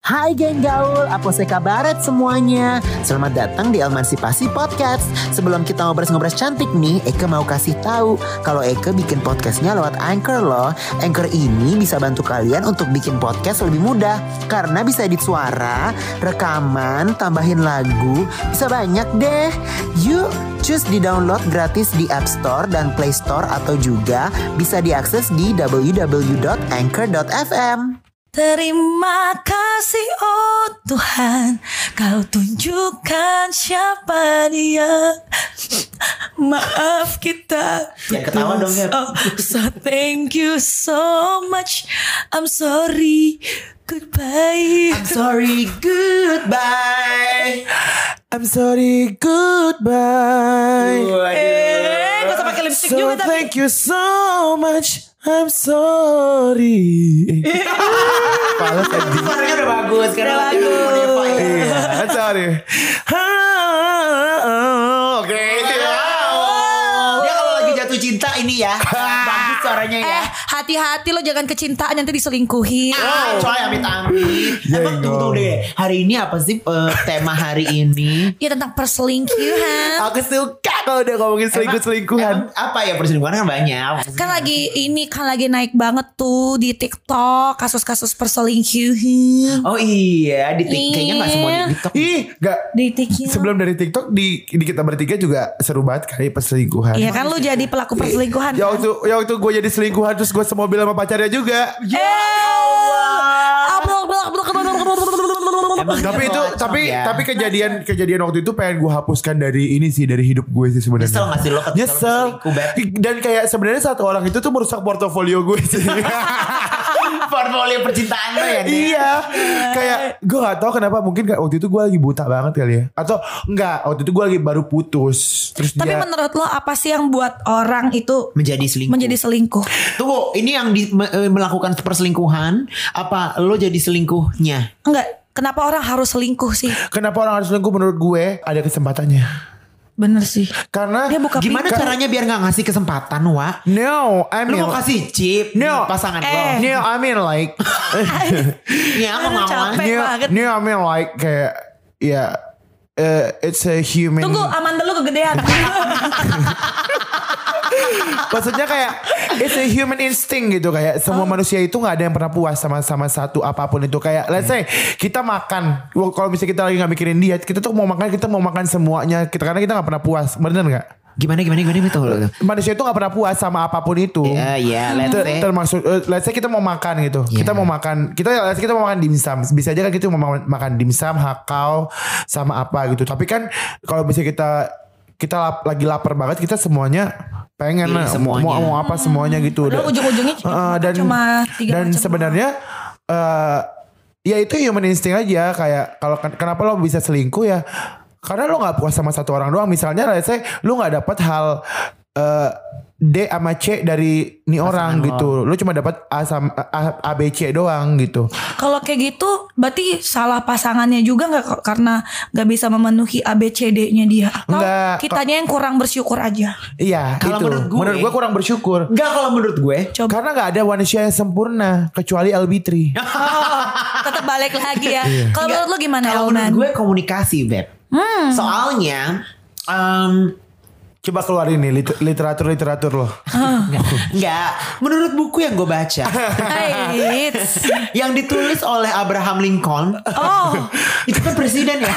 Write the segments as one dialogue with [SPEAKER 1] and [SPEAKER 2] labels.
[SPEAKER 1] Hai geng gaul, apa kabaret semuanya? Selamat datang di Emansipasi Podcast. Sebelum kita ngobrol-ngobrol cantik nih, Eke mau kasih tahu kalau Eke bikin podcastnya lewat Anchor loh. Anchor ini bisa bantu kalian untuk bikin podcast lebih mudah karena bisa edit suara, rekaman, tambahin lagu, bisa banyak deh. Yuk, cus di download gratis di App Store dan Play Store atau juga bisa diakses di www.anchor.fm.
[SPEAKER 2] Terima kasih oh Tuhan Kau tunjukkan siapa dia Maaf kita
[SPEAKER 1] Ya, ketawa dong, Gap.
[SPEAKER 2] Oh, So thank you so much I'm sorry Goodbye
[SPEAKER 1] I'm sorry, goodbye. I'm sorry, goodbye.
[SPEAKER 2] Eh, gak usah pakai lipstick juga tapi
[SPEAKER 3] thank you so much. I'm sorry. Males ending.
[SPEAKER 1] Suaranya udah bagus, karena
[SPEAKER 2] Udah
[SPEAKER 1] lagi
[SPEAKER 2] bagus.
[SPEAKER 1] modify.
[SPEAKER 3] Iya, I'm sorry. Oke.
[SPEAKER 1] Dia kalau lagi jatuh cinta ini ya, bagus suaranya ya.
[SPEAKER 2] Eh hati-hati lo jangan kecintaan nanti diselingkuhi
[SPEAKER 1] Ah, coy amit amit. Emang
[SPEAKER 3] Jengol.
[SPEAKER 1] tunggu tunggu deh. Hari ini apa sih eh, tema hari ini?
[SPEAKER 2] Ya tentang perselingkuhan
[SPEAKER 3] Aku suka kalau udah ngomongin selingkuh-selingkuhan.
[SPEAKER 1] Emang apa ya perselingkuhan kan banyak.
[SPEAKER 2] Kan lagi ini kan lagi naik banget tuh di TikTok kasus-kasus perselingkuhan.
[SPEAKER 1] Oh iya, di tik- kayaknya nggak semua di TikTok.
[SPEAKER 3] Ih, gak.
[SPEAKER 2] Di TikTok.
[SPEAKER 3] Sebelum dari TikTok di, di kita bertiga juga seru banget kali perselingkuhan.
[SPEAKER 2] Iya kan lu jadi pelaku perselingkuhan.
[SPEAKER 3] Ya
[SPEAKER 2] kan?
[SPEAKER 3] waktu ya waktu gue jadi selingkuhan terus gue semobil sama pacarnya juga.
[SPEAKER 2] Ah, blok, blok, blok, blok, blok, blok, blok, blok, blok, blok.
[SPEAKER 1] Emang
[SPEAKER 3] Tapi
[SPEAKER 1] dia
[SPEAKER 3] itu
[SPEAKER 1] pelacur
[SPEAKER 3] tapi
[SPEAKER 1] ya.
[SPEAKER 3] tapi kejadian kejadian waktu itu pengen gue hapuskan dari ini sih dari hidup gue sih sebenarnya.
[SPEAKER 1] Nyesel nggak sih lo ketika lo
[SPEAKER 3] Nyesel.
[SPEAKER 1] berselingkuh, Beb?
[SPEAKER 3] Dan kayak sebenarnya satu orang itu tuh merusak portofolio gue sih.
[SPEAKER 1] ya, portfolio percintaan lo ya. Dea?
[SPEAKER 3] iya. Kayak gue gak tahu kenapa mungkin kayak waktu itu gue lagi buta banget kali ya. Atau enggak, waktu itu gue lagi baru putus. Terus
[SPEAKER 2] Tapi
[SPEAKER 3] dia
[SPEAKER 2] menurut lo apa sih yang buat orang itu
[SPEAKER 1] Menjadi selingkuh.
[SPEAKER 2] menjadi selingkuh?
[SPEAKER 1] Tunggu, ini yang di- me- eh, melakukan perselingkuhan apa lo jadi selingkuhnya?
[SPEAKER 2] Enggak, kenapa orang harus selingkuh sih?
[SPEAKER 3] Kenapa orang harus selingkuh menurut gue ada kesempatannya.
[SPEAKER 2] Bener sih.
[SPEAKER 3] Karena
[SPEAKER 2] Dia buka
[SPEAKER 1] Gimana
[SPEAKER 2] pintu.
[SPEAKER 1] caranya biar nggak ngasih kesempatan, Wa?
[SPEAKER 3] No,
[SPEAKER 1] Lo
[SPEAKER 3] I mean
[SPEAKER 1] mau kasih chip
[SPEAKER 3] No.
[SPEAKER 1] di pasangan
[SPEAKER 2] Eh.
[SPEAKER 1] lo?
[SPEAKER 3] No, I mean like
[SPEAKER 1] Ya, mau nggak
[SPEAKER 2] Aduh,
[SPEAKER 1] mau.
[SPEAKER 2] capek.
[SPEAKER 3] no,
[SPEAKER 2] banget.
[SPEAKER 3] no, I mean like kayak ya eh, it's a human
[SPEAKER 2] Tunggu, Amanda lu kegedean.
[SPEAKER 3] Maksudnya kayak it's a human instinct gitu kayak semua
[SPEAKER 2] Oh.
[SPEAKER 3] manusia itu nggak ada yang pernah puas sama sama satu apapun itu kayak let's say kita makan Wah, kalau misalnya kita lagi nggak mikirin diet kita tuh mau makan kita mau makan semuanya kita karena kita nggak pernah puas bener nggak
[SPEAKER 1] Gimana gimana gimana betul.
[SPEAKER 3] manusia itu nggak pernah puas sama apapun itu
[SPEAKER 1] Ya, ya,
[SPEAKER 2] Hmm.
[SPEAKER 1] let's
[SPEAKER 3] Hmm. Ter-
[SPEAKER 1] say.
[SPEAKER 3] termasuk eh, let's say kita mau makan gitu
[SPEAKER 1] Iya.
[SPEAKER 3] kita mau makan kita let's say kita mau makan dimsum bisa aja kan kita mau makan, makan dimsum hakau sama apa gitu tapi kan kalau bisa kita kita lap- lagi lapar banget kita semuanya pengen
[SPEAKER 1] Pilih
[SPEAKER 3] lah,
[SPEAKER 1] Iya, semuanya.
[SPEAKER 3] mau mau apa semuanya gitu
[SPEAKER 2] Hmm. Padahal
[SPEAKER 3] Dan-
[SPEAKER 2] ujung-ujungnya
[SPEAKER 3] Eh, dan
[SPEAKER 2] cuma tiga
[SPEAKER 3] dan
[SPEAKER 2] macam
[SPEAKER 3] sebenarnya eh ya itu human instinct aja kayak kalau ken- kenapa lo bisa selingkuh ya karena lo nggak puas sama satu orang doang misalnya let's say lo nggak dapat hal eh D sama C dari ni orang gitu lo cuma dapat A sama A, A, B C doang gitu
[SPEAKER 2] Kalau kayak gitu berarti salah pasangannya juga nggak kok? karena nggak bisa memenuhi ABCD-nya dia atau
[SPEAKER 3] Nggak,
[SPEAKER 2] kitanya yang kurang bersyukur aja.
[SPEAKER 3] iya
[SPEAKER 1] Kalau
[SPEAKER 3] itu
[SPEAKER 1] menurut gue- ya.
[SPEAKER 3] menurut gue kurang bersyukur
[SPEAKER 1] Enggak kalau menurut gue.
[SPEAKER 2] Coba.
[SPEAKER 3] karena nggak ada manusia yang sempurna kecuali LB3
[SPEAKER 1] Ya.
[SPEAKER 2] Tetap balik lagi ya. Kalau menurut lu gimana Hmm.
[SPEAKER 1] Kalau
[SPEAKER 2] Elman?
[SPEAKER 1] menurut gue komunikasi, Beb. Soalnya em,
[SPEAKER 3] coba keluarin nih lit- literatur literatur lo
[SPEAKER 1] Enggak, menurut buku yang gue baca
[SPEAKER 2] Hey,
[SPEAKER 1] yang ditulis oleh Abraham Lincoln.
[SPEAKER 2] oh,
[SPEAKER 1] Itu kan presiden ya.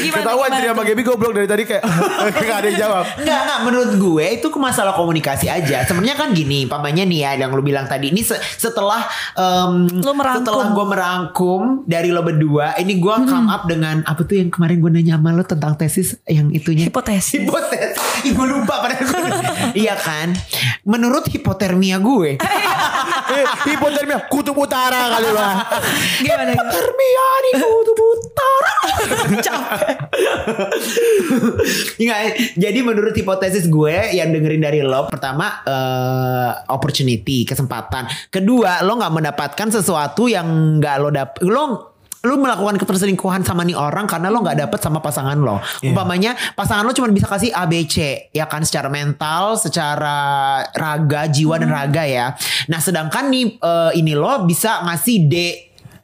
[SPEAKER 2] gimana?
[SPEAKER 3] ketahuan
[SPEAKER 2] gimana
[SPEAKER 3] jadi sama
[SPEAKER 2] tuh?
[SPEAKER 3] Gaby goblok dari tadi kayak nggak ada yang jawab
[SPEAKER 1] Enggak, enggak menurut gue itu ke masalah komunikasi aja. Sebenarnya kan gini, pamannya nih ya yang lu bilang tadi ini se- setelah em,
[SPEAKER 2] Lu merangkum.
[SPEAKER 1] setelah gue merangkum dari lo berdua, ini gue come up dengan apa tuh yang kemarin gue nanya sama lo tentang tesis yang itunya.
[SPEAKER 2] Hipotesis.
[SPEAKER 1] Hipotesis. Ih, gue lupa pada Iya kan? Menurut hipotermia gue.
[SPEAKER 3] eh, hipotermia kutub utara kali lah
[SPEAKER 2] Gimana? gimana?
[SPEAKER 1] Hipotermia di kutub utara. Enggak, eh, jadi menurut hipotesis gue yang dengerin dari lo pertama eh, opportunity kesempatan kedua lo nggak mendapatkan sesuatu yang nggak lo dap lo lo melakukan keterselingkuhan sama nih orang karena lo nggak dapet sama pasangan lo umpamanya pasangan lo cuma bisa kasih ABC ya kan secara mental secara
[SPEAKER 2] Hmm.
[SPEAKER 1] raga jiwa dan raga ya nah sedangkan nih eh, ini lo bisa ngasih D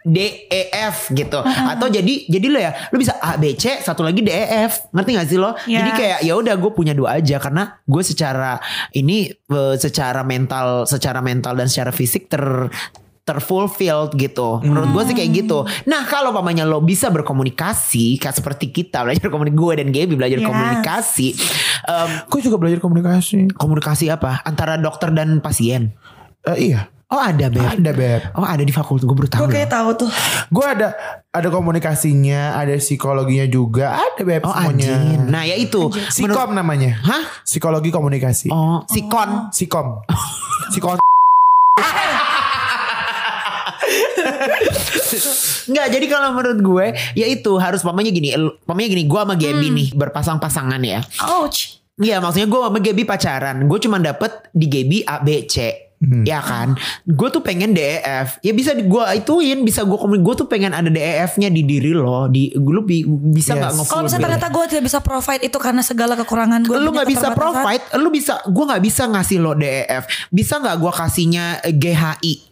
[SPEAKER 1] D E F gitu atau jadi jadi lo ya lo bisa A B C satu lagi D E F ngerti gak sih lo
[SPEAKER 2] Ya.
[SPEAKER 1] jadi kayak ya udah gue punya dua aja karena gue secara ini eh, secara mental secara mental dan secara fisik ter terfulfilled gitu menurut gue sih
[SPEAKER 2] Hmm.
[SPEAKER 1] kayak gitu nah kalau mamanya lo bisa berkomunikasi kayak seperti kita belajar komunikasi gue dan Gaby belajar
[SPEAKER 2] Yes.
[SPEAKER 1] komunikasi Em,
[SPEAKER 3] Gue juga belajar komunikasi.
[SPEAKER 1] komunikasi apa antara dokter dan pasien
[SPEAKER 3] Eh, iya.
[SPEAKER 1] oh ada beb
[SPEAKER 3] Ada beb.
[SPEAKER 1] oh ada di fakultas gue baru tahu
[SPEAKER 2] Gue
[SPEAKER 1] loh.
[SPEAKER 2] kayak tahu tuh.
[SPEAKER 3] Gue ada ada komunikasinya, ada psikologinya juga, ada beb
[SPEAKER 1] Oh
[SPEAKER 3] semuanya.
[SPEAKER 1] anjing. Nah ya itu. Menurut-
[SPEAKER 3] Psikom namanya.
[SPEAKER 1] Hah?
[SPEAKER 3] Psikologi komunikasi.
[SPEAKER 1] Oh sikon.
[SPEAKER 3] Psikom. Psikon.
[SPEAKER 1] Enggak jadi kalau menurut gue. Ya itu harus pamanya gini. el- Pamanya gini. Gue sama Gaby
[SPEAKER 2] Hmm.
[SPEAKER 1] nih. Berpasang-pasangan ya.
[SPEAKER 2] Ouch.
[SPEAKER 1] Iya maksudnya gue sama Gaby pacaran. Gue cuma dapet di Gaby A, B, C. Ya kan Gue tuh pengen DEF Ya bisa di- gue ituin Bisa gue komunikasi Gue tuh pengen ada DEF nya di diri lo di, Lu bi- bisa
[SPEAKER 3] Yes.
[SPEAKER 1] nggak nge
[SPEAKER 2] Kalau misalnya ternyata gue tidak bisa provide itu karena segala kekurangan gue.
[SPEAKER 1] lu nggak bisa provide, lu bisa, gua nggak bisa ngasih lo DEF, bisa nggak gua kasihnya eh, GHI?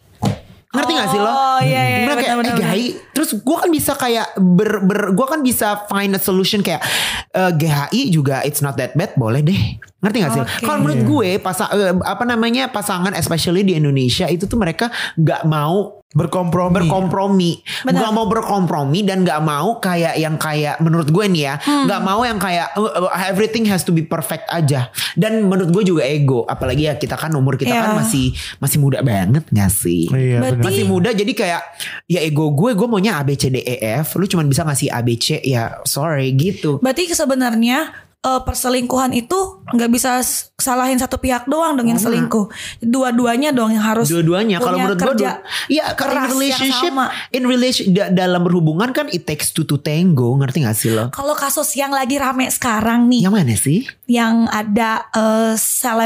[SPEAKER 1] Ngerti nggak sih lo?
[SPEAKER 2] Oh, iya, iya,
[SPEAKER 1] Bener
[SPEAKER 2] iya,
[SPEAKER 1] kayak,
[SPEAKER 2] benar,
[SPEAKER 1] eh,
[SPEAKER 2] benar,
[SPEAKER 1] GHI. Terus gua kan bisa kayak ber, ber gua kan bisa find a solution kayak eh, GHI juga it's not that bad, boleh deh. Ngerti gak sih? lo?
[SPEAKER 2] Oke.
[SPEAKER 1] Kalau menurut gue pasang eh, apa namanya pasangan especially di Indonesia itu tuh mereka nggak mau
[SPEAKER 3] Berkompromi.
[SPEAKER 1] berkompromi,
[SPEAKER 2] Benar.
[SPEAKER 1] nggak mau berkompromi dan nggak mau kayak yang kayak menurut gue nih ya,
[SPEAKER 2] Hmm.
[SPEAKER 1] nggak mau yang kayak uh, uh, everything has to be perfect aja. Dan menurut gue juga ego, apalagi ya kita kan umur kita kan
[SPEAKER 2] Iya.
[SPEAKER 1] masih masih muda banget nggak sih?
[SPEAKER 3] Iya
[SPEAKER 2] Berarti-
[SPEAKER 3] benar.
[SPEAKER 1] Masih muda jadi kayak ya ego gue gue maunya A B C D E F, lu cuman bisa ngasih A B C ya sorry gitu.
[SPEAKER 2] Berarti sebenarnya eh, perselingkuhan itu nggak bisa s- salahin satu pihak doang dengan selingkuh. Dua-duanya dong yang harus.
[SPEAKER 1] Dua-duanya kalau
[SPEAKER 2] punya
[SPEAKER 1] menurut gue
[SPEAKER 2] kerja
[SPEAKER 1] du- ya karena in
[SPEAKER 2] keras yang
[SPEAKER 1] relationship
[SPEAKER 2] sama.
[SPEAKER 1] in relation da- dalam berhubungan kan it takes two to tango, ngerti gak sih lo?
[SPEAKER 2] Kalau kasus yang lagi rame sekarang nih,
[SPEAKER 1] Yang mana sih?
[SPEAKER 2] yang ada eh,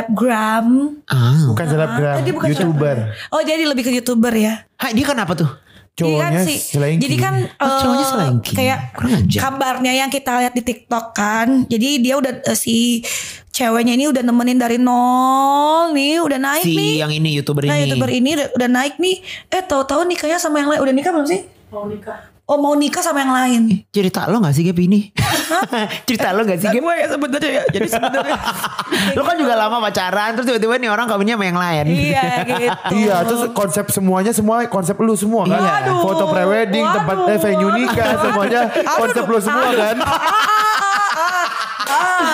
[SPEAKER 2] selebgram.
[SPEAKER 1] Ah.
[SPEAKER 3] Bukan selebgram,
[SPEAKER 2] Eh, dia bukan
[SPEAKER 3] youtuber.
[SPEAKER 2] Oh jadi lebih ke youtuber ya?
[SPEAKER 1] Hai, dia kenapa tuh?
[SPEAKER 3] Cowoknya Ah,
[SPEAKER 2] jadi kan, si-
[SPEAKER 3] selengki.
[SPEAKER 2] jadi kan
[SPEAKER 1] Oh,
[SPEAKER 2] eh,
[SPEAKER 1] cowoknya selengki.
[SPEAKER 2] kayak
[SPEAKER 1] Kurang ajar.
[SPEAKER 2] kabarnya yang kita lihat di TikTok kan. Jadi dia udah eh, si ceweknya ini udah nemenin dari nol nih, udah naik
[SPEAKER 1] si
[SPEAKER 2] nih.
[SPEAKER 1] yang ini youtuber
[SPEAKER 2] nah,
[SPEAKER 1] ini.
[SPEAKER 2] youtuber ini udah, udah naik nih. Eh, tahu-tahu nikahnya sama yang lain. Udah nikah belum sih? Mau nikah. Oh, mau nikah sama yang lain.
[SPEAKER 1] Cerita lo gak sih Gap ini? Cerita lo gak sih Gap?
[SPEAKER 2] gue ya sebenarnya ya. Jadi sebenarnya
[SPEAKER 1] Lo kan juga lama pacaran terus tiba-tiba nih orang kawinnya sama yang lain.
[SPEAKER 2] iya gitu.
[SPEAKER 3] Iya, terus konsep semuanya semua konsep lu semua kan.
[SPEAKER 1] Iya. Waduh,
[SPEAKER 3] Foto prewedding, tempat eh,
[SPEAKER 2] waduh,
[SPEAKER 3] venue nikah
[SPEAKER 2] waduh.
[SPEAKER 3] semuanya
[SPEAKER 2] Aduh,
[SPEAKER 3] konsep lu semua
[SPEAKER 2] aduh. Ah,
[SPEAKER 3] kan. Iya.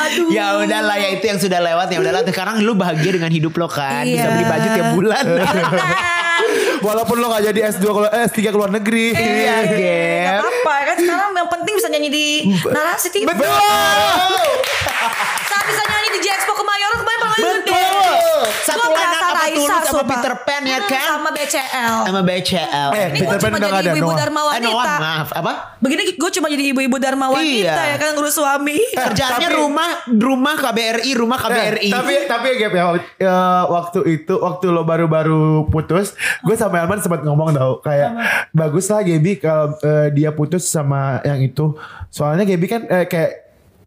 [SPEAKER 2] Aduh.
[SPEAKER 1] Ya udahlah ya itu yang sudah lewat ya udahlah sekarang lu bahagia dengan hidup lo kan bisa
[SPEAKER 2] Iya.
[SPEAKER 1] beli baju tiap bulan.
[SPEAKER 2] Nah,
[SPEAKER 3] Walaupun lu gak jadi S2 keluar eh, S3 keluar negeri.
[SPEAKER 1] Iya, Gap.
[SPEAKER 2] apa kan sekarang yang penting bisa nyanyi di narasi TV.
[SPEAKER 1] Betul.
[SPEAKER 2] Saya bisa nyanyi di Jexpo Kemayoran kemarin paling gede.
[SPEAKER 1] Betul. Satu
[SPEAKER 2] Gua
[SPEAKER 1] lanang
[SPEAKER 2] berasa
[SPEAKER 1] sama
[SPEAKER 2] Raisa,
[SPEAKER 1] Tulus sama
[SPEAKER 2] sumpah.
[SPEAKER 1] Peter Pan, ya
[SPEAKER 2] Hmm,
[SPEAKER 1] kan?
[SPEAKER 2] Sama BCL.
[SPEAKER 1] Sama BCL.
[SPEAKER 3] Eh,
[SPEAKER 2] Ini
[SPEAKER 3] Peter
[SPEAKER 2] gue
[SPEAKER 3] Pan
[SPEAKER 2] cuma
[SPEAKER 3] udah
[SPEAKER 2] jadi
[SPEAKER 3] nggak ada,
[SPEAKER 2] ibu-ibu
[SPEAKER 3] Noah.
[SPEAKER 2] Dharma
[SPEAKER 1] Eh, Noah,
[SPEAKER 2] wanita.
[SPEAKER 1] maaf apa?
[SPEAKER 2] Begini gue cuma jadi ibu-ibu Dharma wanita
[SPEAKER 1] Iya. Eh.
[SPEAKER 2] ya kan ngurus suami.
[SPEAKER 1] Kerjaannya
[SPEAKER 3] tapi-
[SPEAKER 1] rumah rumah KBRI rumah KBRI.
[SPEAKER 3] Eh, tapi tapi ya Gap ya eh, waktu itu waktu lo baru-baru putus, gue sama Elman sempat ngomong tau kayak bagus lah Gaby kalau eh, dia putus sama yang itu. Soalnya Gaby kan eh, kayak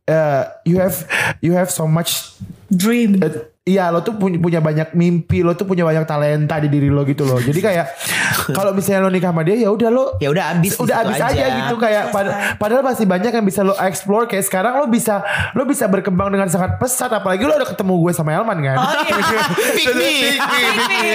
[SPEAKER 3] eh, you have you have so much
[SPEAKER 2] Dream.
[SPEAKER 3] Eh, Iya lo tuh punya, punya banyak mimpi Lo tuh punya banyak talenta di diri lo gitu loh Jadi kayak kalau misalnya lo nikah sama dia ya udah lo
[SPEAKER 1] Ya udah abis di
[SPEAKER 3] Udah
[SPEAKER 1] situ
[SPEAKER 3] habis aja.
[SPEAKER 1] aja.
[SPEAKER 3] gitu Kayak pad- padahal masih banyak yang bisa lo explore Kayak sekarang lo bisa Lo bisa berkembang dengan sangat pesat Apalagi lo udah ketemu gue sama Elman kan
[SPEAKER 2] Oh iya.
[SPEAKER 1] Pick me.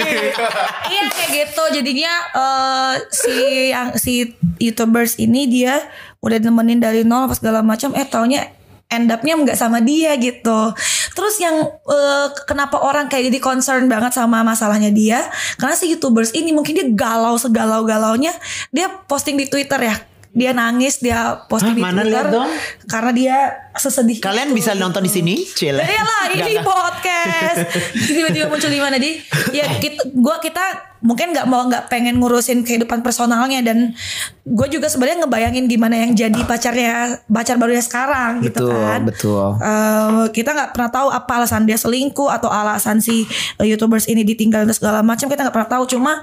[SPEAKER 2] iya kayak gitu jadinya eh, si yang si youtubers ini dia udah nemenin dari nol apa segala macam eh taunya end up-nya nggak sama dia gitu terus yang eh, kenapa orang kayak jadi concern banget sama masalahnya dia karena si youtubers ini mungkin dia galau segalau galaunya dia posting di twitter ya dia nangis dia posting
[SPEAKER 1] Hah,
[SPEAKER 2] di
[SPEAKER 1] mana lihat
[SPEAKER 2] twitter
[SPEAKER 1] dong?
[SPEAKER 2] karena dia sesedih
[SPEAKER 1] Kalian
[SPEAKER 2] itu.
[SPEAKER 1] bisa nonton di sini, cile.
[SPEAKER 2] Iya lah ini podcast Tiba-tiba muncul di mana di Ya
[SPEAKER 1] Oh.
[SPEAKER 2] kita, gua kita mungkin nggak mau nggak pengen ngurusin kehidupan personalnya Dan gue juga sebenarnya ngebayangin gimana yang jadi pacarnya Pacar barunya sekarang gitu
[SPEAKER 1] Betul,
[SPEAKER 2] kan
[SPEAKER 1] betul.
[SPEAKER 2] Eh, Kita nggak pernah tahu apa alasan dia selingkuh Atau alasan si eh, Youtubers ini ditinggal dan segala macam Kita nggak pernah tahu Cuma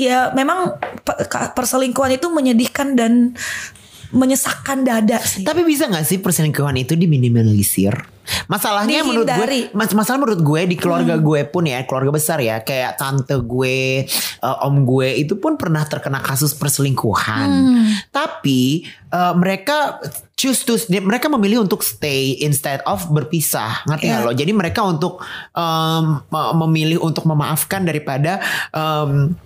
[SPEAKER 2] ya memang pe- ka- perselingkuhan itu menyedihkan dan menyesakkan dada sih.
[SPEAKER 1] Iya. Tapi bisa gak sih perselingkuhan itu diminimalisir? Masalahnya menurut
[SPEAKER 2] Dihindari.
[SPEAKER 1] gue,
[SPEAKER 2] Hmm.
[SPEAKER 1] mas masalah menurut gue di keluarga gue pun ya, keluarga besar ya, kayak tante gue, eh, om gue itu pun pernah terkena kasus perselingkuhan.
[SPEAKER 2] Hmm.
[SPEAKER 1] Tapi eh, mereka choose to mereka memilih untuk stay instead of berpisah. Ngerti nggak
[SPEAKER 2] Iya.
[SPEAKER 1] lo? Jadi mereka untuk em, me- memilih untuk memaafkan daripada em,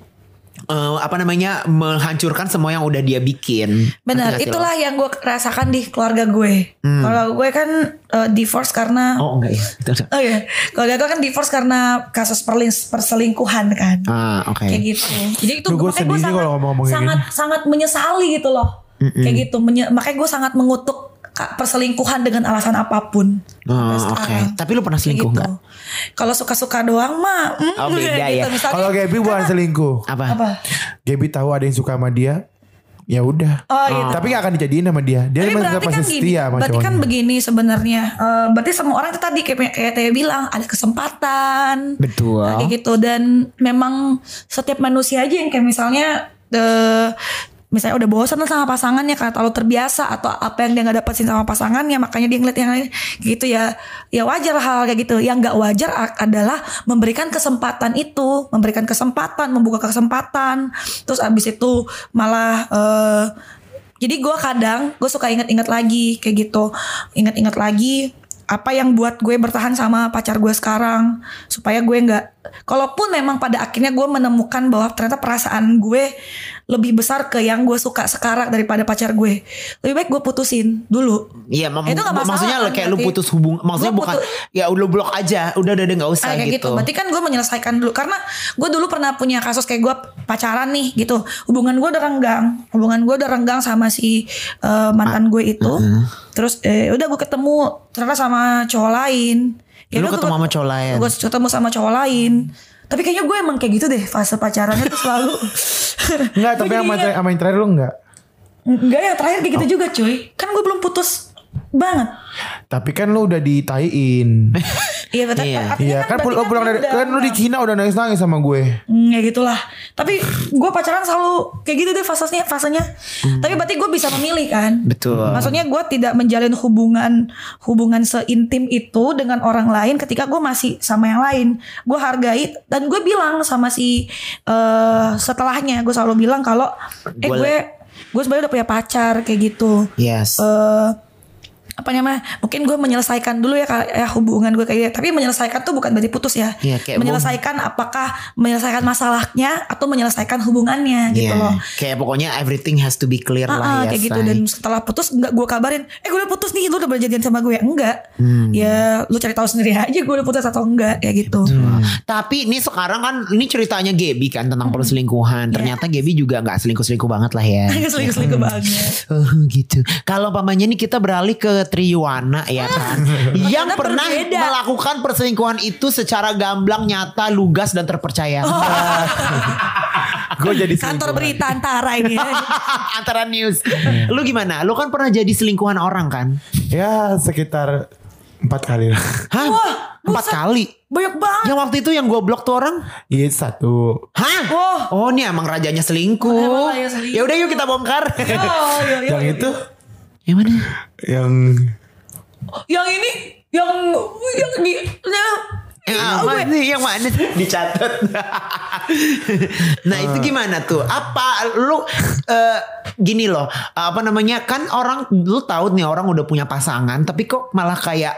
[SPEAKER 1] eh, apa namanya menghancurkan semua yang udah dia bikin.
[SPEAKER 2] Benar,
[SPEAKER 1] Ngerti nggak sih lo?
[SPEAKER 2] itulah yang gue rasakan di keluarga gue. Kalau gue kan eh, divorce karena
[SPEAKER 1] Hmm. Oh enggak ya. Itu ada.
[SPEAKER 2] Oh iya, keluarga gue kan divorce karena kasus perlin- perselingkuhan kan.
[SPEAKER 1] Ah, oke.
[SPEAKER 2] Kayak gitu. Jadi itu
[SPEAKER 3] Duh, gue
[SPEAKER 2] makanya
[SPEAKER 3] sedih nih kalau ngomong-ngomong kayak
[SPEAKER 2] sangat sangat menyesali gitu loh. Kayak gitu, menye- makanya gue sangat mengutuk ka- perselingkuhan dengan alasan apapun.
[SPEAKER 1] Oh,
[SPEAKER 2] Sampai
[SPEAKER 1] oke.
[SPEAKER 2] sekarang.
[SPEAKER 1] Tapi lu pernah selingkuh
[SPEAKER 2] ah, Kayak gitu.
[SPEAKER 1] nggak?
[SPEAKER 2] Kalau suka-suka doang mah. mm,
[SPEAKER 1] Oh, beda ya.
[SPEAKER 2] misalnya-
[SPEAKER 3] Kalau Gaby bukan selingkuh.
[SPEAKER 1] Apa?
[SPEAKER 2] apa?
[SPEAKER 3] Gaby tahu ada yang suka sama dia. Ya udah.
[SPEAKER 2] Oh, gitu.
[SPEAKER 3] Tapi gak akan dijadiin sama dia. Dia
[SPEAKER 2] Tapi
[SPEAKER 3] masih
[SPEAKER 2] berarti
[SPEAKER 3] masih
[SPEAKER 2] kan gini,
[SPEAKER 3] setia sama
[SPEAKER 2] berarti kan
[SPEAKER 3] cowoknya.
[SPEAKER 2] begini sebenarnya. Eh, berarti semua orang itu tadi kayak kayak Teh bilang ada kesempatan.
[SPEAKER 1] Betul.
[SPEAKER 2] Nah, kayak gitu dan memang setiap manusia aja yang kayak misalnya eh misalnya udah bosan lah sama pasangannya karena terlalu terbiasa atau apa yang dia nggak dapetin sama pasangannya makanya dia ngeliat yang lain gitu ya ya wajar hal kayak gitu yang nggak wajar a- adalah memberikan kesempatan itu memberikan kesempatan membuka kesempatan terus abis itu malah eh jadi gue kadang gue suka inget-inget lagi kayak gitu, inget-inget lagi apa yang buat gue bertahan sama pacar gue sekarang supaya gue nggak, kalaupun memang pada akhirnya gue menemukan bahwa ternyata perasaan gue lebih besar ke yang gue suka sekarang daripada pacar gue, lebih baik gue putusin dulu.
[SPEAKER 1] Iya, mem-
[SPEAKER 2] Itu nggak masalah
[SPEAKER 1] maksudnya
[SPEAKER 2] kan
[SPEAKER 1] kayak lu
[SPEAKER 2] berarti?
[SPEAKER 1] putus hubung, maksudnya
[SPEAKER 2] Lu
[SPEAKER 1] bukan
[SPEAKER 2] putus-
[SPEAKER 1] ya lu blok aja, udah udah udah nggak usah
[SPEAKER 2] Ah, kayak
[SPEAKER 1] gitu.
[SPEAKER 2] gitu. Berarti kan gue menyelesaikan dulu karena gue dulu pernah punya kasus kayak gue pacaran nih gitu. Hubungan gue udah renggang, hubungan gue udah renggang sama si eh, mantan gue itu. Terus eh, udah gue ketemu ternyata sama cowok lain.
[SPEAKER 1] Lu
[SPEAKER 2] ya udah,
[SPEAKER 1] ketemu
[SPEAKER 2] gua-
[SPEAKER 1] sama cowok lain?
[SPEAKER 2] Gue ketemu sama cowok lain. Tapi kayaknya gue emang kayak gitu deh fase pacarannya tuh selalu.
[SPEAKER 3] Enggak, tapi
[SPEAKER 2] Gua
[SPEAKER 3] sama,
[SPEAKER 2] jadi
[SPEAKER 3] ter- sama yang terakhir lu enggak.
[SPEAKER 2] Enggak ya terakhir kayak gitu
[SPEAKER 1] Oh.
[SPEAKER 2] juga cuy. Kan gue belum putus banget.
[SPEAKER 3] Tapi kan lu udah ditaiin.
[SPEAKER 2] Iya betul.
[SPEAKER 1] Iya.
[SPEAKER 2] Artinya
[SPEAKER 3] Iya kan,
[SPEAKER 2] berarti
[SPEAKER 3] lu pulang dari
[SPEAKER 2] udah-
[SPEAKER 3] kan lu di Cina udah nangis-nangis sama gue.
[SPEAKER 2] Hmm, ya gitulah. Tapi gue pacaran selalu kayak gitu deh fasenya, fasenya. Tapi berarti gue bisa memilih kan?
[SPEAKER 1] Betul.
[SPEAKER 2] Maksudnya gue tidak menjalin hubungan hubungan seintim itu dengan orang lain ketika gue masih sama yang lain. Gue hargai dan gue bilang sama si eh setelahnya gue selalu bilang kalau eh
[SPEAKER 1] Gua-
[SPEAKER 2] gue gue sebenarnya udah punya pacar kayak gitu
[SPEAKER 1] Yes.
[SPEAKER 2] eh apa namanya mungkin gue menyelesaikan dulu ya, Kak, ya hubungan gue kayak gitu tapi menyelesaikan tuh bukan berarti putus ya
[SPEAKER 1] Iya, kayak
[SPEAKER 2] menyelesaikan apakah menyelesaikan masalahnya atau menyelesaikan hubungannya gitu
[SPEAKER 1] Iya.
[SPEAKER 2] loh
[SPEAKER 1] Kayak pokoknya everything has to be clear
[SPEAKER 2] Ah, ah,
[SPEAKER 1] lah ya.
[SPEAKER 2] kayak gitu
[SPEAKER 1] Shay.
[SPEAKER 2] dan setelah putus nggak gue kabarin eh gue udah putus nih lu udah berjadian sama gue enggak
[SPEAKER 1] Hmm.
[SPEAKER 2] ya lu cari tahu sendiri aja gue udah putus atau enggak
[SPEAKER 1] Iya,
[SPEAKER 2] kayak gitu
[SPEAKER 1] Tapi ini sekarang kan ini ceritanya Gaby kan tentang
[SPEAKER 2] Iya.
[SPEAKER 1] perselingkuhan. Ternyata Gaby juga nggak selingkuh-selingkuh banget lah ya.
[SPEAKER 2] selingkuh-selingkuh banget
[SPEAKER 1] Oh gitu. Kalau pamannya ini kita beralih ke Triwana ya kan. yang
[SPEAKER 2] Karena
[SPEAKER 1] pernah
[SPEAKER 2] Ah. berbeda.
[SPEAKER 1] melakukan perselingkuhan itu secara gamblang, nyata, lugas dan terpercaya.
[SPEAKER 2] Oh.
[SPEAKER 3] Gue jadi
[SPEAKER 2] kantor
[SPEAKER 3] selingkuhan.
[SPEAKER 2] berita antara ini ya.
[SPEAKER 1] Antara news. Lu gimana? Lu kan pernah jadi selingkuhan orang kan?
[SPEAKER 3] Ya sekitar empat kali lah.
[SPEAKER 1] Hah?
[SPEAKER 2] Wah,
[SPEAKER 1] Empat
[SPEAKER 2] buset.
[SPEAKER 1] kali.
[SPEAKER 2] banyak banget
[SPEAKER 1] Yang waktu itu yang gue blok tuh orang.
[SPEAKER 3] Iya satu.
[SPEAKER 1] Hah?
[SPEAKER 2] Wah.
[SPEAKER 1] Oh, ini emang rajanya selingkuh.
[SPEAKER 2] Emang rajanya selingkuh.
[SPEAKER 1] Ya udah yuk kita bongkar.
[SPEAKER 2] Oh, iya, iya,
[SPEAKER 3] Yang
[SPEAKER 2] iya.
[SPEAKER 3] itu
[SPEAKER 1] yang mana?
[SPEAKER 3] yang
[SPEAKER 2] yang ini yang yang di nah,
[SPEAKER 1] Yang mana sih? Yang mana? sih? Dicatat. nah itu gimana tuh? Apa lu eh, gini loh? Apa namanya? Kan orang lu tahu nih orang udah punya pasangan, tapi kok malah kayak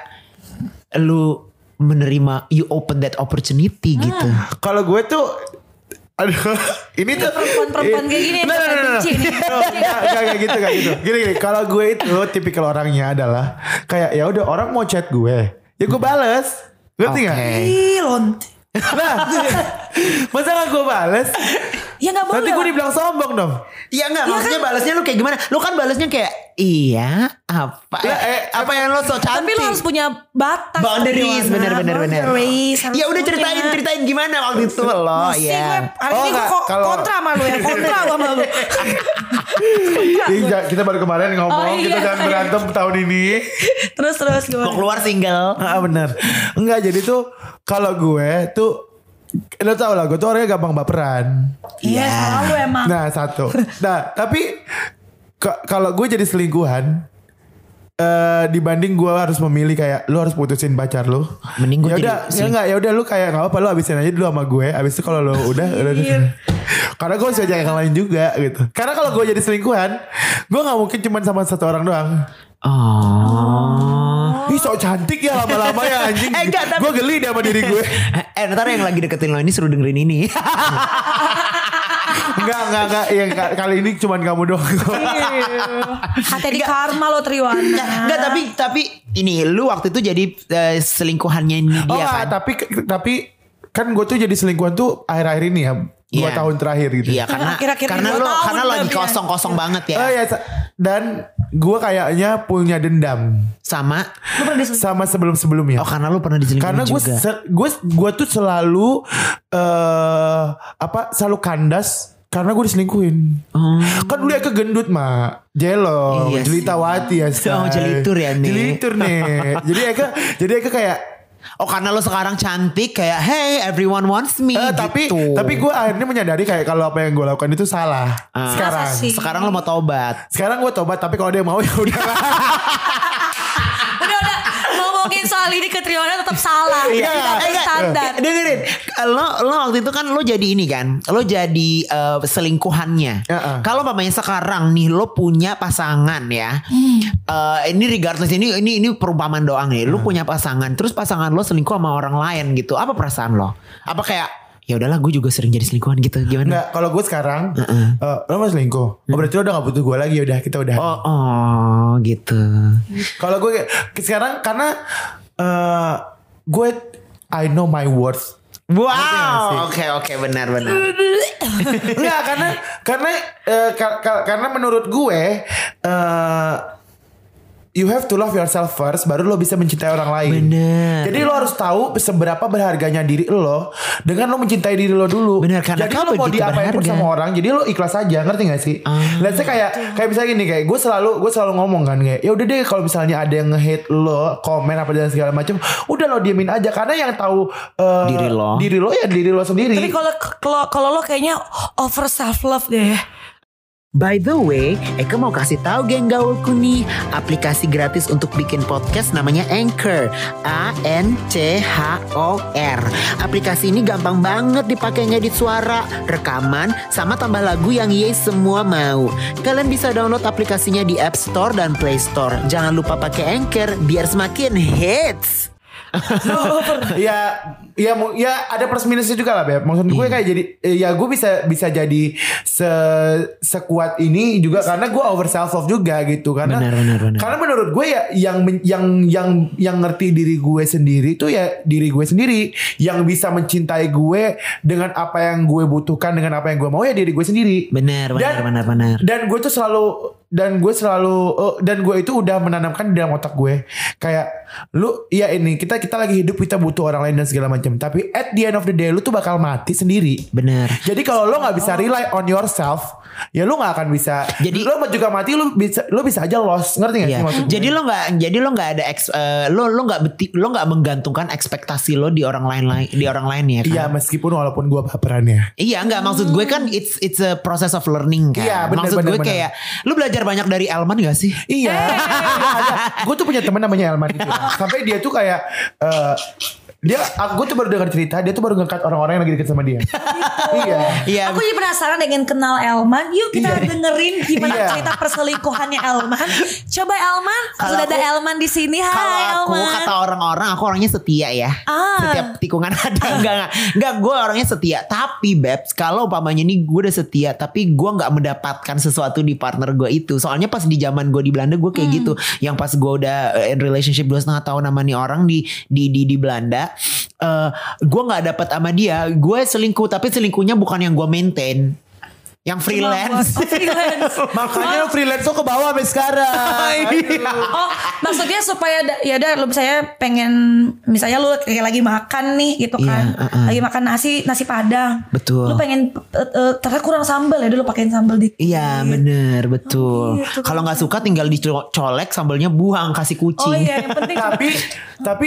[SPEAKER 1] lu menerima you open that opportunity gitu.
[SPEAKER 3] kalau gue tuh aduh ini tuh
[SPEAKER 2] perempuan-perempuan kayak gini yang
[SPEAKER 3] Nah, nah,
[SPEAKER 2] saya
[SPEAKER 3] nah, nah.
[SPEAKER 2] benci nih.
[SPEAKER 3] Nggak, nggak, nggak gitu nggak gitu gini gini kalau gue itu tipikal orangnya adalah kayak ya udah orang mau chat gue ya gue bales ngerti nggak
[SPEAKER 1] Oke.
[SPEAKER 2] ih lonte
[SPEAKER 3] nah masa nggak gue bales
[SPEAKER 2] ya nggak boleh
[SPEAKER 3] nanti gue dibilang sombong dong
[SPEAKER 1] Iya enggak, maksudnya balesnya lu kayak gimana? Lu kan balesnya kayak iya apa?
[SPEAKER 3] Ya,
[SPEAKER 1] eh,
[SPEAKER 3] eh,
[SPEAKER 1] apa yang lo so cantik?
[SPEAKER 2] tapi lo harus punya batas
[SPEAKER 1] boundaries
[SPEAKER 2] Wana.
[SPEAKER 1] bener bener bener.
[SPEAKER 2] Boundaries, harus
[SPEAKER 1] Ya udah
[SPEAKER 2] punya.
[SPEAKER 1] ceritain ceritain gimana waktu itu lo
[SPEAKER 2] Pusing gue.
[SPEAKER 1] ya.
[SPEAKER 2] hari
[SPEAKER 3] Oh,
[SPEAKER 2] ini gue
[SPEAKER 3] nggak,
[SPEAKER 2] kok
[SPEAKER 3] kalau-
[SPEAKER 2] kontra sama lu ya kontra gua sama lu
[SPEAKER 3] Jadi, ja- Iya, kita baru kemarin ngomong
[SPEAKER 2] Oh, iya.
[SPEAKER 3] kita jangan berantem tahun ini
[SPEAKER 2] terus terus gue
[SPEAKER 1] Mau keluar single.
[SPEAKER 3] Ah bener Enggak jadi tuh Kalau gue tuh Lo tau lah gue
[SPEAKER 1] Iya.
[SPEAKER 3] tuh orangnya gampang baperan
[SPEAKER 2] Ah. iya salah lu emang
[SPEAKER 3] Nah satu Nah tapi Ka- kalau gue jadi selingkuhan eh dibanding gue harus memilih kayak lu harus putusin pacar lu.
[SPEAKER 1] Mending gue
[SPEAKER 3] ya
[SPEAKER 1] jadi
[SPEAKER 3] udah ya
[SPEAKER 1] seling-
[SPEAKER 3] enggak ya udah lu kayak enggak apa-apa lu habisin aja dulu sama gue. Abis itu kalau lu udah udah. udah. Karena gue masih banyak yang lain juga gitu. Karena kalau gue jadi selingkuhan, gue nggak mungkin cuman sama satu orang doang.
[SPEAKER 1] Oh.
[SPEAKER 3] Ih sok cantik ya lama-lama ya anjing.
[SPEAKER 1] Eh, enggak, tapi-
[SPEAKER 3] Gue geli deh sama diri gue.
[SPEAKER 1] Eh ntar yang lagi deketin lo ini suruh dengerin ini.
[SPEAKER 3] Enggak enggak enggak. Ya, ka- kali ini cuman kamu doang.
[SPEAKER 2] iya. Hati di karma lo Triwana.
[SPEAKER 1] Enggak tapi tapi ini lu waktu itu jadi eh, selingkuhannya ini
[SPEAKER 3] Oh
[SPEAKER 1] dia
[SPEAKER 3] nggak,
[SPEAKER 1] kan.
[SPEAKER 3] tapi tapi kan gue tuh jadi selingkuhan tuh akhir-akhir ini ya dua
[SPEAKER 1] Iya.
[SPEAKER 3] tahun terakhir gitu.
[SPEAKER 1] Iya karena
[SPEAKER 2] Akhir-akhir
[SPEAKER 1] karena
[SPEAKER 2] dua
[SPEAKER 1] lo
[SPEAKER 2] tahun
[SPEAKER 1] karena lagi
[SPEAKER 2] berarti ya.
[SPEAKER 1] kosong-kosong banget ya
[SPEAKER 3] Oh ya sa- dan gue kayaknya punya dendam
[SPEAKER 1] sama
[SPEAKER 2] Lo pernah diselingkuhin?
[SPEAKER 3] sama sebelum-sebelumnya.
[SPEAKER 1] oh karena lu pernah diselingkuhin
[SPEAKER 3] Karena gue
[SPEAKER 1] juga.
[SPEAKER 3] gue gue tuh selalu eh apa selalu kandas karena gue diselingkuhin. Kan dulu ya kegendut mak Jelo
[SPEAKER 1] Iya sih.
[SPEAKER 3] Jelita wati ya say.
[SPEAKER 1] Oh, jelitur ya, Nek.
[SPEAKER 3] Jelitur nih Jadi Eka Jadi Eka kayak
[SPEAKER 1] Oh karena lo sekarang cantik kayak hey everyone wants me
[SPEAKER 3] eh, Tapi
[SPEAKER 1] gitu.
[SPEAKER 3] Tapi gue akhirnya menyadari Kayak kalau apa yang gue lakukan itu salah
[SPEAKER 1] Ah.
[SPEAKER 3] Sekarang
[SPEAKER 2] Masa sih?
[SPEAKER 1] sekarang lo mau tobat.
[SPEAKER 3] Sekarang gue tobat Tapi kalau dia mau ya udah
[SPEAKER 2] Udah udah ngomongin soal ini ke Triwana tetap salah.
[SPEAKER 3] Iya.
[SPEAKER 2] Tidak ada
[SPEAKER 1] Enggak,
[SPEAKER 2] standar.
[SPEAKER 1] Dengerin, lo lo waktu itu kan lo jadi ini kan, lo jadi eh, selingkuhannya.
[SPEAKER 3] Iya.
[SPEAKER 1] Kalau mamanya sekarang nih lo punya pasangan ya, Eh, ini regardless ini ini ini perumpamaan doang nih. Lo punya pasangan, terus pasangan lo selingkuh sama orang lain gitu. Apa perasaan lo? Apa kayak ya udahlah gue juga sering jadi selingkuhan gitu gimana?
[SPEAKER 3] Nggak, kalau gue sekarang eh, Lo masih selingkuh oh, Berarti lo udah gak butuh gue lagi ya Udah kita udah
[SPEAKER 1] Oh, oh gitu.
[SPEAKER 3] Kalau gue kayak- sekarang karena eh gue I know my worth.
[SPEAKER 1] Wow, oke oke benar-benar.
[SPEAKER 3] Enggak karena karena eh, ka- ka- karena menurut gue eh you have to love yourself first baru lo bisa mencintai orang lain.
[SPEAKER 1] Bener.
[SPEAKER 3] Jadi lo harus tahu seberapa berharganya diri lo dengan lo mencintai diri lo dulu.
[SPEAKER 1] Bener, karena
[SPEAKER 3] jadi
[SPEAKER 1] kau
[SPEAKER 3] lo mau
[SPEAKER 1] begitu
[SPEAKER 3] diapain pun
[SPEAKER 1] berharga. Ah,
[SPEAKER 3] sama orang, jadi lo ikhlas aja, ngerti gak sih? Let's say kayak kayak misalnya gini kayak gue selalu gue selalu ngomong kan kayak ya udah deh kalau misalnya ada yang nge-hate lo, komen apa dan segala macam, udah lo diemin aja karena yang tahu eh,
[SPEAKER 1] Diri lo.
[SPEAKER 3] diri lo ya diri lo sendiri.
[SPEAKER 2] Tapi kalau kalau kalau lo kayaknya over self love deh.
[SPEAKER 1] By the way, Eka mau kasih tahu geng gaulku nih aplikasi gratis untuk bikin podcast namanya Anchor. A N C H O R. Aplikasi ini gampang banget dipakainya di suara, rekaman, sama tambah lagu yang ye semua mau. Kalian bisa download aplikasinya di App Store dan Play Store. Jangan lupa pakai Anchor biar semakin hits.
[SPEAKER 3] ya ya mu- ya ada plus minusnya juga lah Beb.
[SPEAKER 1] Iya.
[SPEAKER 3] Maksud gue kayak jadi eh, ya gue bisa bisa jadi se sekuat ini juga karena gue over self love juga gitu karena
[SPEAKER 1] Benar, benar, benar.
[SPEAKER 3] karena menurut gue ya yang men- yang yang yang ngerti diri gue sendiri itu ya diri gue sendiri yang bisa mencintai gue dengan apa yang gue butuhkan dengan apa yang gue mau ya diri gue sendiri.
[SPEAKER 1] Benar, benar,
[SPEAKER 3] Dan-
[SPEAKER 1] benar, benar.
[SPEAKER 3] Dan gue tuh selalu dan gue selalu eh, dan gue itu udah menanamkan di dalam otak gue kayak lu ya ini kita kita lagi hidup kita butuh orang lain dan segala macam tapi at the end of the day lu tuh bakal mati sendiri
[SPEAKER 1] Benar.
[SPEAKER 3] jadi kalau lo nggak bisa rely on yourself ya lu nggak akan bisa
[SPEAKER 1] Jadi-
[SPEAKER 3] lo juga mati lu bisa lu bisa aja lost ngerti gak
[SPEAKER 1] Iya.
[SPEAKER 3] sih maksud gue?
[SPEAKER 1] Jadi lo nggak, jadi lo nggak ada eks, eh, lo lo nggak beti, lo nggak menggantungkan ekspektasi lo di orang lain lain di orang lain ya. Kan?
[SPEAKER 3] iya meskipun walaupun gue baperan ya
[SPEAKER 1] Iya nggak maksud gue kan it's it's a process of learning kan.
[SPEAKER 3] Iya, benar,
[SPEAKER 1] maksud
[SPEAKER 3] benar,
[SPEAKER 1] gue
[SPEAKER 3] benar.
[SPEAKER 1] kayak lo belajar banyak dari Elman gak sih?
[SPEAKER 3] Iya.
[SPEAKER 1] Eh.
[SPEAKER 3] gue tuh punya teman namanya Elman gitu. Sampai dia tuh kayak eh, dia aku tuh baru dengar cerita dia tuh baru ngekat orang-orang yang lagi deket sama dia. iya.
[SPEAKER 1] Iya.
[SPEAKER 2] Aku jadi penasaran dengan kenal Elman. Yuk kita dengerin gimana
[SPEAKER 3] Iya.
[SPEAKER 2] cerita perselingkuhannya Elman. Coba Elman,
[SPEAKER 1] Kalau
[SPEAKER 2] sudah ada
[SPEAKER 1] aku-
[SPEAKER 2] Elman di sini.
[SPEAKER 1] Kalau
[SPEAKER 2] Hai
[SPEAKER 1] aku
[SPEAKER 2] Elman.
[SPEAKER 1] kata orang-orang aku orangnya setia ya.
[SPEAKER 2] Ah.
[SPEAKER 1] Setiap tikungan ada enggak enggak. Enggak gue orangnya setia. Tapi Babs kalau umpamanya ini gue udah setia tapi gue nggak mendapatkan sesuatu di partner gue itu. Soalnya pas di zaman gue di Belanda gue kayak gitu. Yang pas gue udah eh, in relationship dua setengah tahun sama nih orang di di di, di Belanda. eh gue nggak dapat sama dia. Gue selingkuh tapi selingkuhnya bukan yang gue maintain. Yang freelance.
[SPEAKER 2] Oh, freelance.
[SPEAKER 3] Makanya freelance tuh ke bawah sampai sekarang.
[SPEAKER 2] Oh, maksudnya supaya da- ya udah lu misalnya pengen misalnya lu kayak lagi makan nih gitu kan.
[SPEAKER 1] Iya, uh-uh.
[SPEAKER 2] Lagi makan nasi nasi Padang.
[SPEAKER 1] Betul.
[SPEAKER 2] Lu pengen eh, eh, ternyata kurang sambal ya dulu pakein sambal dikit. Oh
[SPEAKER 1] Iya bener betul.
[SPEAKER 2] gitu.
[SPEAKER 1] Kalau nggak suka tinggal
[SPEAKER 2] iya.
[SPEAKER 1] dicolek sambalnya buang kasih kucing.
[SPEAKER 2] Oh iya, yang penting
[SPEAKER 3] tapi tapi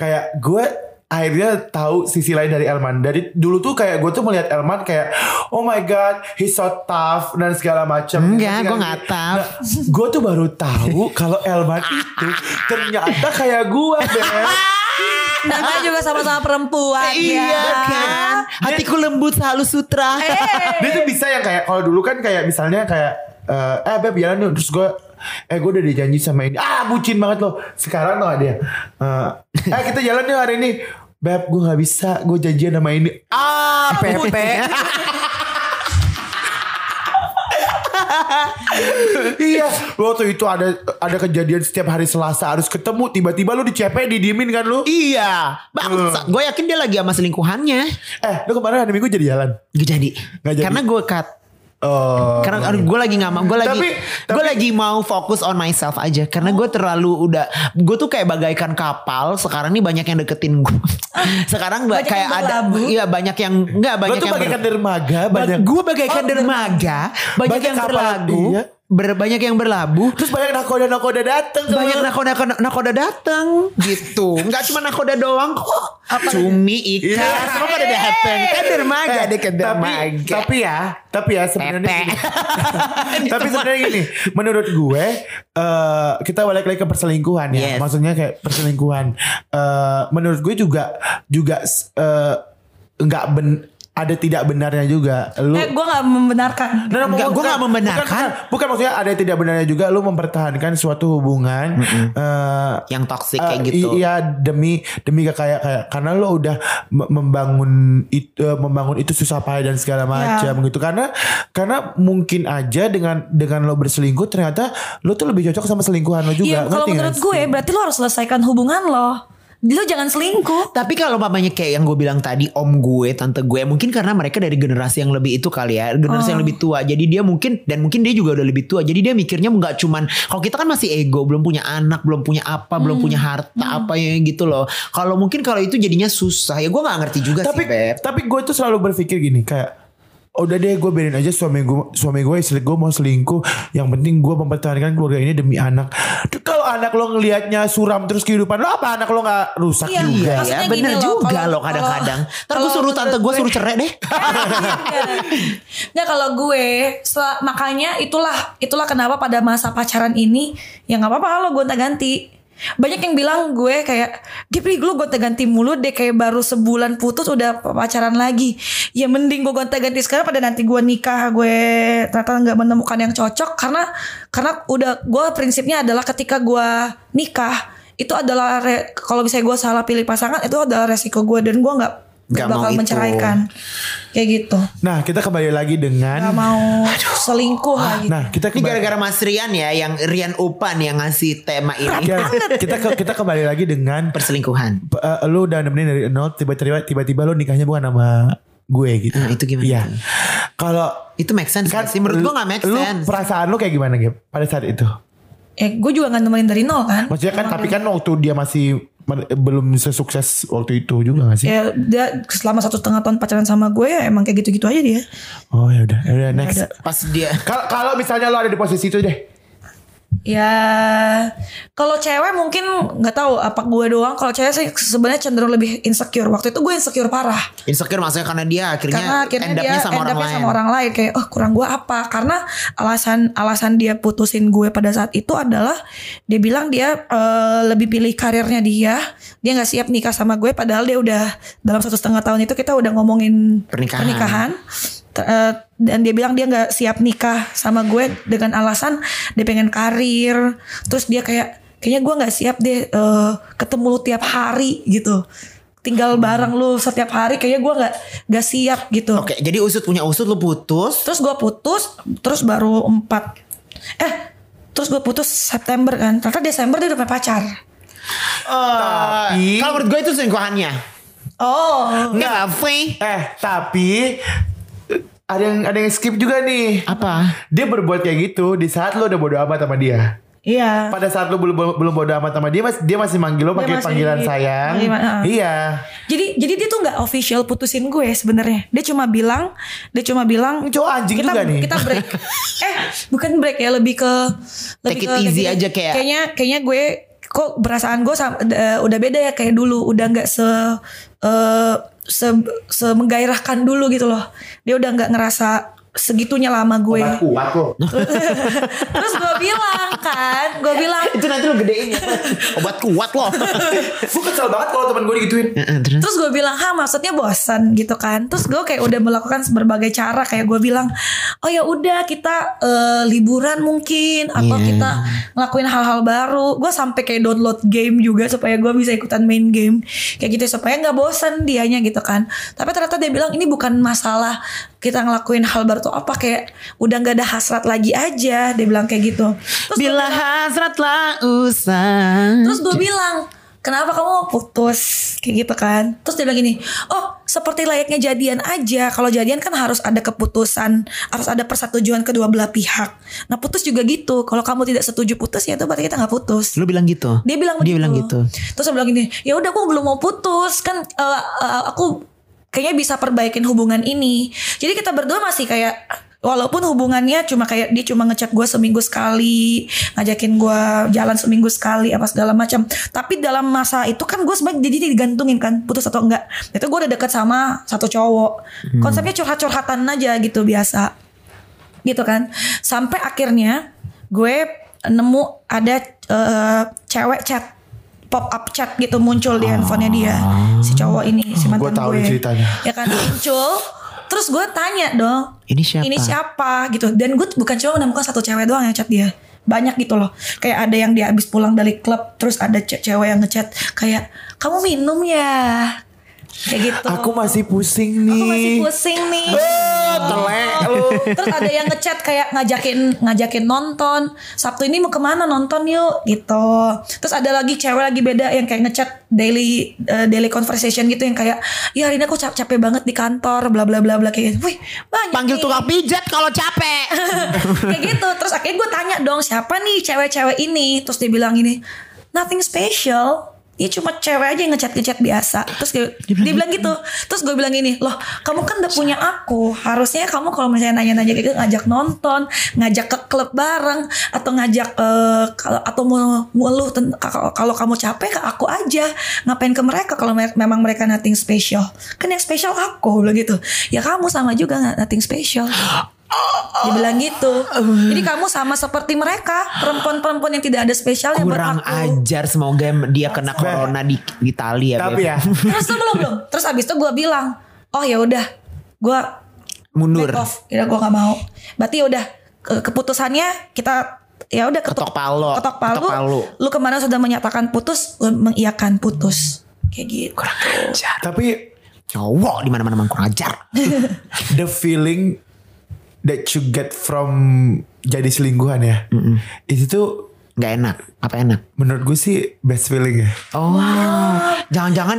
[SPEAKER 3] kayak gue akhirnya tahu sisi lain dari Elman. Dari dulu tuh kayak gue tuh melihat Elman kayak oh my god, he's so tough dan segala macam.
[SPEAKER 1] Enggak, gue nggak tough.
[SPEAKER 3] gue nah, tuh baru tahu kalau Elman itu ternyata kayak gue, Beb.
[SPEAKER 2] Namanya juga sama-sama perempuan ya.
[SPEAKER 1] Iya kan. Hatiku lembut halus sutra.
[SPEAKER 2] Eh.
[SPEAKER 3] Dia tuh bisa yang kayak kalau dulu kan kayak misalnya kayak eh, eh beb jalan yuk terus gue eh gue udah dijanji sama ini ah bucin banget loh sekarang tuh dia eh, eh kita jalan yuk hari ini beb gue nggak bisa gue janjian sama ini ah pepe iya waktu itu ada ada kejadian setiap hari Selasa harus ketemu tiba-tiba lu di CP didiemin kan lu
[SPEAKER 1] Iya, bangsa. Gue yakin dia lagi sama selingkuhannya.
[SPEAKER 3] eh lu kemarin hari minggu jadi jalan
[SPEAKER 1] Gak jadi.
[SPEAKER 3] Nggak jadi.
[SPEAKER 1] Karena gue cut.
[SPEAKER 3] oh
[SPEAKER 1] Karena gue lagi nggak mau, gue lagi,
[SPEAKER 3] Tapi-
[SPEAKER 1] gue lagi mau fokus on myself aja. Karena gue terlalu udah, gue tuh kayak bagaikan kapal. Sekarang nih banyak yang deketin gue. Sekarang ba-
[SPEAKER 2] Banyak
[SPEAKER 1] kayak
[SPEAKER 2] yang
[SPEAKER 1] ada,
[SPEAKER 2] berlabuh.
[SPEAKER 1] iya banyak yang nggak
[SPEAKER 3] lu
[SPEAKER 1] banyak
[SPEAKER 3] tuh
[SPEAKER 1] yang
[SPEAKER 3] bagaikan
[SPEAKER 1] ber-
[SPEAKER 3] dermaga banyak
[SPEAKER 1] Gue bagaikan
[SPEAKER 2] Oh,
[SPEAKER 1] dermaga, banyak,
[SPEAKER 3] Banyak
[SPEAKER 1] yang
[SPEAKER 3] kapal,
[SPEAKER 1] berlagu,
[SPEAKER 3] iya.
[SPEAKER 1] ber- banyak yang berlabuh,
[SPEAKER 3] Terus banyak nakoda-nakoda dateng ke
[SPEAKER 1] banyak
[SPEAKER 3] lu.
[SPEAKER 1] nakoda nakoda datang gitu. Nggak cuma nakoda doang kok. Cumi ikan,
[SPEAKER 3] Iya.
[SPEAKER 1] semua pada datang. Kan dermaga,
[SPEAKER 3] Eh,
[SPEAKER 1] deh kan
[SPEAKER 3] tapi,
[SPEAKER 1] dermaga.
[SPEAKER 3] tapi ya, tapi ya sebenarnya
[SPEAKER 1] Pepe.
[SPEAKER 3] gini. tapi sebenarnya gini, menurut gue eh kita balik lagi ke perselingkuhan ya.
[SPEAKER 1] Yes.
[SPEAKER 3] Maksudnya kayak perselingkuhan. Eh menurut gue juga juga s- eh, nggak ben ada tidak benarnya juga. Lu
[SPEAKER 2] Eh gue gak membenarkan.
[SPEAKER 3] Nah,
[SPEAKER 1] Enggak, gua nggak
[SPEAKER 3] bukan- bukan-
[SPEAKER 1] membenarkan.
[SPEAKER 3] Bukan, bukan maksudnya ada yang tidak benarnya juga lu mempertahankan suatu hubungan eh,
[SPEAKER 1] yang toksik
[SPEAKER 3] Eh,
[SPEAKER 1] kayak gitu.
[SPEAKER 3] i- Iya demi demi kayak kayak kayak- karena lo udah me- membangun itu eh, membangun itu susah payah dan segala macam
[SPEAKER 2] Iya.
[SPEAKER 3] gitu karena karena mungkin aja dengan dengan lo berselingkuh ternyata lo tuh lebih cocok sama selingkuhan lo
[SPEAKER 2] Iya
[SPEAKER 3] juga.
[SPEAKER 2] kalau
[SPEAKER 3] Ngerti nggak
[SPEAKER 2] menurut
[SPEAKER 3] sih?
[SPEAKER 2] gue berarti lo harus selesaikan hubungan lo. Lo jangan selingkuh.
[SPEAKER 1] Tapi kalau mamanya kayak yang gue bilang tadi om gue, tante gue, mungkin karena mereka dari generasi yang lebih itu kali ya, generasi
[SPEAKER 2] Oh.
[SPEAKER 1] yang lebih tua. Jadi dia mungkin dan mungkin dia juga udah lebih tua. Jadi dia mikirnya nggak cuman kalau kita kan masih ego, belum punya anak, belum punya apa, belum
[SPEAKER 2] Hmm.
[SPEAKER 1] punya harta apa ya gitu loh. Kalau mungkin kalau itu jadinya susah ya gue nggak ngerti juga
[SPEAKER 3] tapi ya,
[SPEAKER 1] sih Beb.
[SPEAKER 3] tapi gue tuh selalu berpikir gini kayak udah deh gue biarin aja suami gue suami gue istri gue mau selingkuh yang penting gue mempertahankan keluarga ini demi anak Duh, kalau anak lo ngelihatnya suram terus kehidupan lo apa anak lo nggak rusak
[SPEAKER 2] Iya.
[SPEAKER 3] juga
[SPEAKER 1] Iya
[SPEAKER 2] Maksudnya
[SPEAKER 1] ya,
[SPEAKER 2] gini
[SPEAKER 1] bener
[SPEAKER 2] loh,
[SPEAKER 1] juga
[SPEAKER 2] kalau-
[SPEAKER 1] loh kadang-kadang.
[SPEAKER 2] kalau-
[SPEAKER 1] Ntar gue
[SPEAKER 2] kalau
[SPEAKER 1] suruh tante gue
[SPEAKER 2] menurut
[SPEAKER 1] suruh cerai deh.
[SPEAKER 2] Nah kalau gue sel- makanya itulah itulah kenapa pada masa pacaran ini ya nggak apa-apa lo gonta ganti. Banyak yang bilang gue kayak Gipri lu gonta ganti mulu deh kayak baru sebulan putus udah pacaran lagi. Ya mending gue gonta ganti sekarang pada nanti gue nikah gue ternyata nggak menemukan yang cocok karena karena udah gue prinsipnya adalah ketika gue nikah itu adalah re- kalau misalnya gue salah pilih pasangan itu adalah resiko gue dan gue nggak
[SPEAKER 1] Nggak mau
[SPEAKER 2] bakal
[SPEAKER 1] itu.
[SPEAKER 2] menceraikan kayak gitu
[SPEAKER 3] nah kita kembali lagi dengan
[SPEAKER 2] nggak mau selingkuh gitu. lagi.
[SPEAKER 3] Nah, kita
[SPEAKER 1] gitu. Ini
[SPEAKER 3] kembali-
[SPEAKER 1] gara-gara Mas Rian ya yang Rian Upan yang ngasih tema ini
[SPEAKER 3] Ya, kita ke- kita kembali lagi dengan
[SPEAKER 1] perselingkuhan.
[SPEAKER 3] eh, lu udah nemenin dari nol tiba-tiba tiba-tiba lu nikahnya bukan sama gue gitu.
[SPEAKER 1] Nah, itu gimana?
[SPEAKER 3] Iya. Kalau
[SPEAKER 1] Itu make sense
[SPEAKER 3] kan
[SPEAKER 1] gak sih? Menurut gue gak make
[SPEAKER 3] lu,
[SPEAKER 1] sense.
[SPEAKER 3] perasaan lu kayak gimana Gap pada saat itu?
[SPEAKER 2] Eh, gue juga nggak nemenin dari nol kan?
[SPEAKER 3] Maksudnya kan tapi kan waktu dia masih mer- belum sesukses waktu itu
[SPEAKER 1] Iya.
[SPEAKER 3] juga gak sih?
[SPEAKER 2] Ya dia selama satu setengah tahun pacaran sama gue ya emang kayak gitu-gitu aja dia.
[SPEAKER 3] Oh ya udah, ya udah next.
[SPEAKER 1] Pas dia
[SPEAKER 3] Kalau kalau misalnya lu ada di posisi itu deh.
[SPEAKER 2] Ya kalau cewek mungkin nggak tahu apa gue doang. Kalau cewek sih sebenarnya cenderung lebih insecure. Waktu itu gue insecure parah.
[SPEAKER 1] insecure maksudnya karena dia akhirnya,
[SPEAKER 2] karena akhirnya
[SPEAKER 1] end up-nya
[SPEAKER 2] dia
[SPEAKER 1] sama,
[SPEAKER 2] end
[SPEAKER 1] orang
[SPEAKER 2] up-nya
[SPEAKER 1] lain.
[SPEAKER 2] sama orang lain kayak oh kurang gue apa karena alasan alasan dia putusin gue pada saat itu adalah dia bilang dia eh, lebih pilih karirnya dia dia nggak siap nikah sama gue padahal dia udah dalam satu setengah tahun itu kita udah ngomongin
[SPEAKER 1] Pernikahan.
[SPEAKER 2] kan? Ter- eh, dan dia bilang dia nggak siap nikah sama gue dengan alasan dia pengen karir terus dia kayak kayaknya gue nggak siap deh eh, ketemu lu tiap hari gitu tinggal bareng lu setiap hari kayaknya gue nggak nggak siap gitu
[SPEAKER 1] Oke, jadi usut punya usut lu putus.
[SPEAKER 2] terus gue putus terus baru empat eh terus gue putus September kan ternyata Desember dia udah punya pacar
[SPEAKER 1] Tapi kalau menurut gue itu selingkuhannya.
[SPEAKER 2] oh
[SPEAKER 1] Enggak, Faye.
[SPEAKER 3] Eh, tapi eh, ada yang ada yang skip juga nih.
[SPEAKER 1] Apa?
[SPEAKER 3] Dia berbuat kayak gitu di saat lu udah bodo amat sama dia.
[SPEAKER 2] iya
[SPEAKER 3] pada saat lu belum belum bodo amat sama dia mas dia masih manggil lo
[SPEAKER 2] Dia
[SPEAKER 3] pakai
[SPEAKER 2] masih-
[SPEAKER 3] panggilan sayang
[SPEAKER 2] manggil, ah.
[SPEAKER 3] iya
[SPEAKER 2] jadi jadi dia tuh nggak official putusin gue sebenarnya dia cuma bilang dia cuma bilang
[SPEAKER 3] Ini cowok anjing
[SPEAKER 2] kita,
[SPEAKER 3] juga nih
[SPEAKER 2] kita break eh bukan break ya lebih ke
[SPEAKER 1] Take it easy aja kayak-
[SPEAKER 2] kayaknya kayaknya gue kok perasaan gue sam- eh, udah beda ya kayak dulu udah nggak se eh, se se menggairahkan dulu gitu loh dia udah nggak ngerasa segitunya lama gue
[SPEAKER 3] kuat kok.
[SPEAKER 2] terus gue bilang kan gue bilang
[SPEAKER 1] Itu nanti lu gedein ya. Obat kuat loh.
[SPEAKER 3] Gue kesel banget kalau teman gue digituin.
[SPEAKER 1] Heeh, Terus
[SPEAKER 2] Terus gue bilang, ha maksudnya bosan gitu kan. Terus gue kayak udah melakukan berbagai cara kayak gue bilang, oh ya udah kita eh, liburan mungkin atau
[SPEAKER 1] Iya.
[SPEAKER 2] kita ngelakuin hal-hal baru. Gue sampai kayak download game juga supaya gue bisa ikutan main game kayak gitu supaya nggak bosan dianya gitu kan. Tapi ternyata dia bilang ini bukan masalah kita ngelakuin hal baru tuh apa kayak udah nggak ada hasrat lagi aja. Dia bilang kayak gitu. Terus gue
[SPEAKER 1] bila hasrat lah usang.
[SPEAKER 2] Terus gue bilang Kenapa kamu mau putus Kayak gitu kan Terus dia bilang gini Oh seperti layaknya jadian aja Kalau jadian kan harus ada keputusan Harus ada persetujuan kedua belah pihak Nah putus juga gitu Kalau kamu tidak setuju putus Ya itu berarti kita gak putus
[SPEAKER 1] Lu bilang gitu.
[SPEAKER 2] Dia bilang
[SPEAKER 1] Dia
[SPEAKER 2] begitu.
[SPEAKER 1] bilang gitu.
[SPEAKER 2] Terus dia bilang gini Ya udah aku belum mau putus Kan eh, eh, aku Kayaknya bisa perbaikin hubungan ini Jadi kita berdua masih kayak Walaupun hubungannya cuma kayak dia cuma ngechat gue seminggu sekali, ngajakin gue jalan seminggu sekali apa segala macam. Tapi dalam masa itu kan gue sebenarnya jadi digantungin kan putus atau enggak. Itu gue udah deket sama satu cowok.
[SPEAKER 1] Hmm.
[SPEAKER 2] Konsepnya curhat-curhatan aja gitu biasa gitu kan sampai akhirnya gue nemu ada eh, cewek chat pop up chat gitu muncul di handphonenya dia si cowok ini si mantan
[SPEAKER 3] Gue tahu
[SPEAKER 2] gue
[SPEAKER 3] nih ceritanya.
[SPEAKER 2] ya kan muncul terus gue tanya dong
[SPEAKER 1] Ini siapa?
[SPEAKER 2] ini siapa gitu dan gue bukan cuma menemukan satu cewek doang yang chat dia banyak gitu loh kayak ada yang dia habis pulang dari klub terus ada ce- cewek yang ngechat kayak kamu minum ya kayak gitu
[SPEAKER 3] Aku masih pusing nih.
[SPEAKER 2] aku masih pusing nih Oh.
[SPEAKER 3] Eh, telek lu.
[SPEAKER 2] Terus ada yang ngechat kayak ngajakin ngajakin nonton Sabtu ini mau kemana nonton yuk gitu. Terus ada lagi cewek lagi beda yang kayak ngechat daily eh, daily conversation gitu yang kayak ya hari ini aku cap- capek banget di kantor bla bla bla bla kayak gitu. Wih banyak
[SPEAKER 1] Panggil
[SPEAKER 2] nih."
[SPEAKER 1] tukang pijat kalau capek.
[SPEAKER 2] kayak gitu. Terus akhirnya gue tanya dong siapa nih cewek-cewek ini. Terus dia bilang ini nothing special. Dia cuma cewek aja yang ngechat-ngechat biasa. Terus dia, dia bilang gitu. Terus gue bilang gini, loh kamu kan udah punya aku. Harusnya kamu kalau misalnya nanya-nanya kayak gitu ngajak nonton, ngajak ke klub bareng, atau ngajak eh, kalau atau mau ngeluh ten- kalau- kalau kamu capek ke aku aja. Ngapain ke mereka kalau mer- memang mereka nothing special? Kan yang special aku, bilang gitu. Ya kamu sama juga nggak nothing special. Dia
[SPEAKER 1] Oh.
[SPEAKER 2] bilang gitu. Jadi kamu sama seperti mereka, perempuan-perempuan yang tidak ada spesialnya buat
[SPEAKER 1] Kurang
[SPEAKER 2] aku.
[SPEAKER 1] ajar semoga dia kena corona di di Italia.
[SPEAKER 3] Tapi ya,
[SPEAKER 2] Terus tuh belum belum. Terus abis itu gue bilang, oh ya udah, gue
[SPEAKER 1] mundur.
[SPEAKER 2] back off. Ya gue nggak mau. Berarti ya udah ke- keputusannya kita ya udah ketuk-
[SPEAKER 1] Ketok palo.
[SPEAKER 2] Ketok palu.
[SPEAKER 1] Ketok palu.
[SPEAKER 2] Lu kemana sudah menyatakan putus, gue mengiyakan putus. Kayak gitu.
[SPEAKER 3] tapi
[SPEAKER 1] Cowok di mana-mana emang kurang ajar.
[SPEAKER 3] the feeling that you get from jadi selingkuhan ya. Itu tuh
[SPEAKER 1] Gak enak. Apa enak?
[SPEAKER 3] menurut gue sih best feeling ya.
[SPEAKER 1] Oh, jangan-jangan,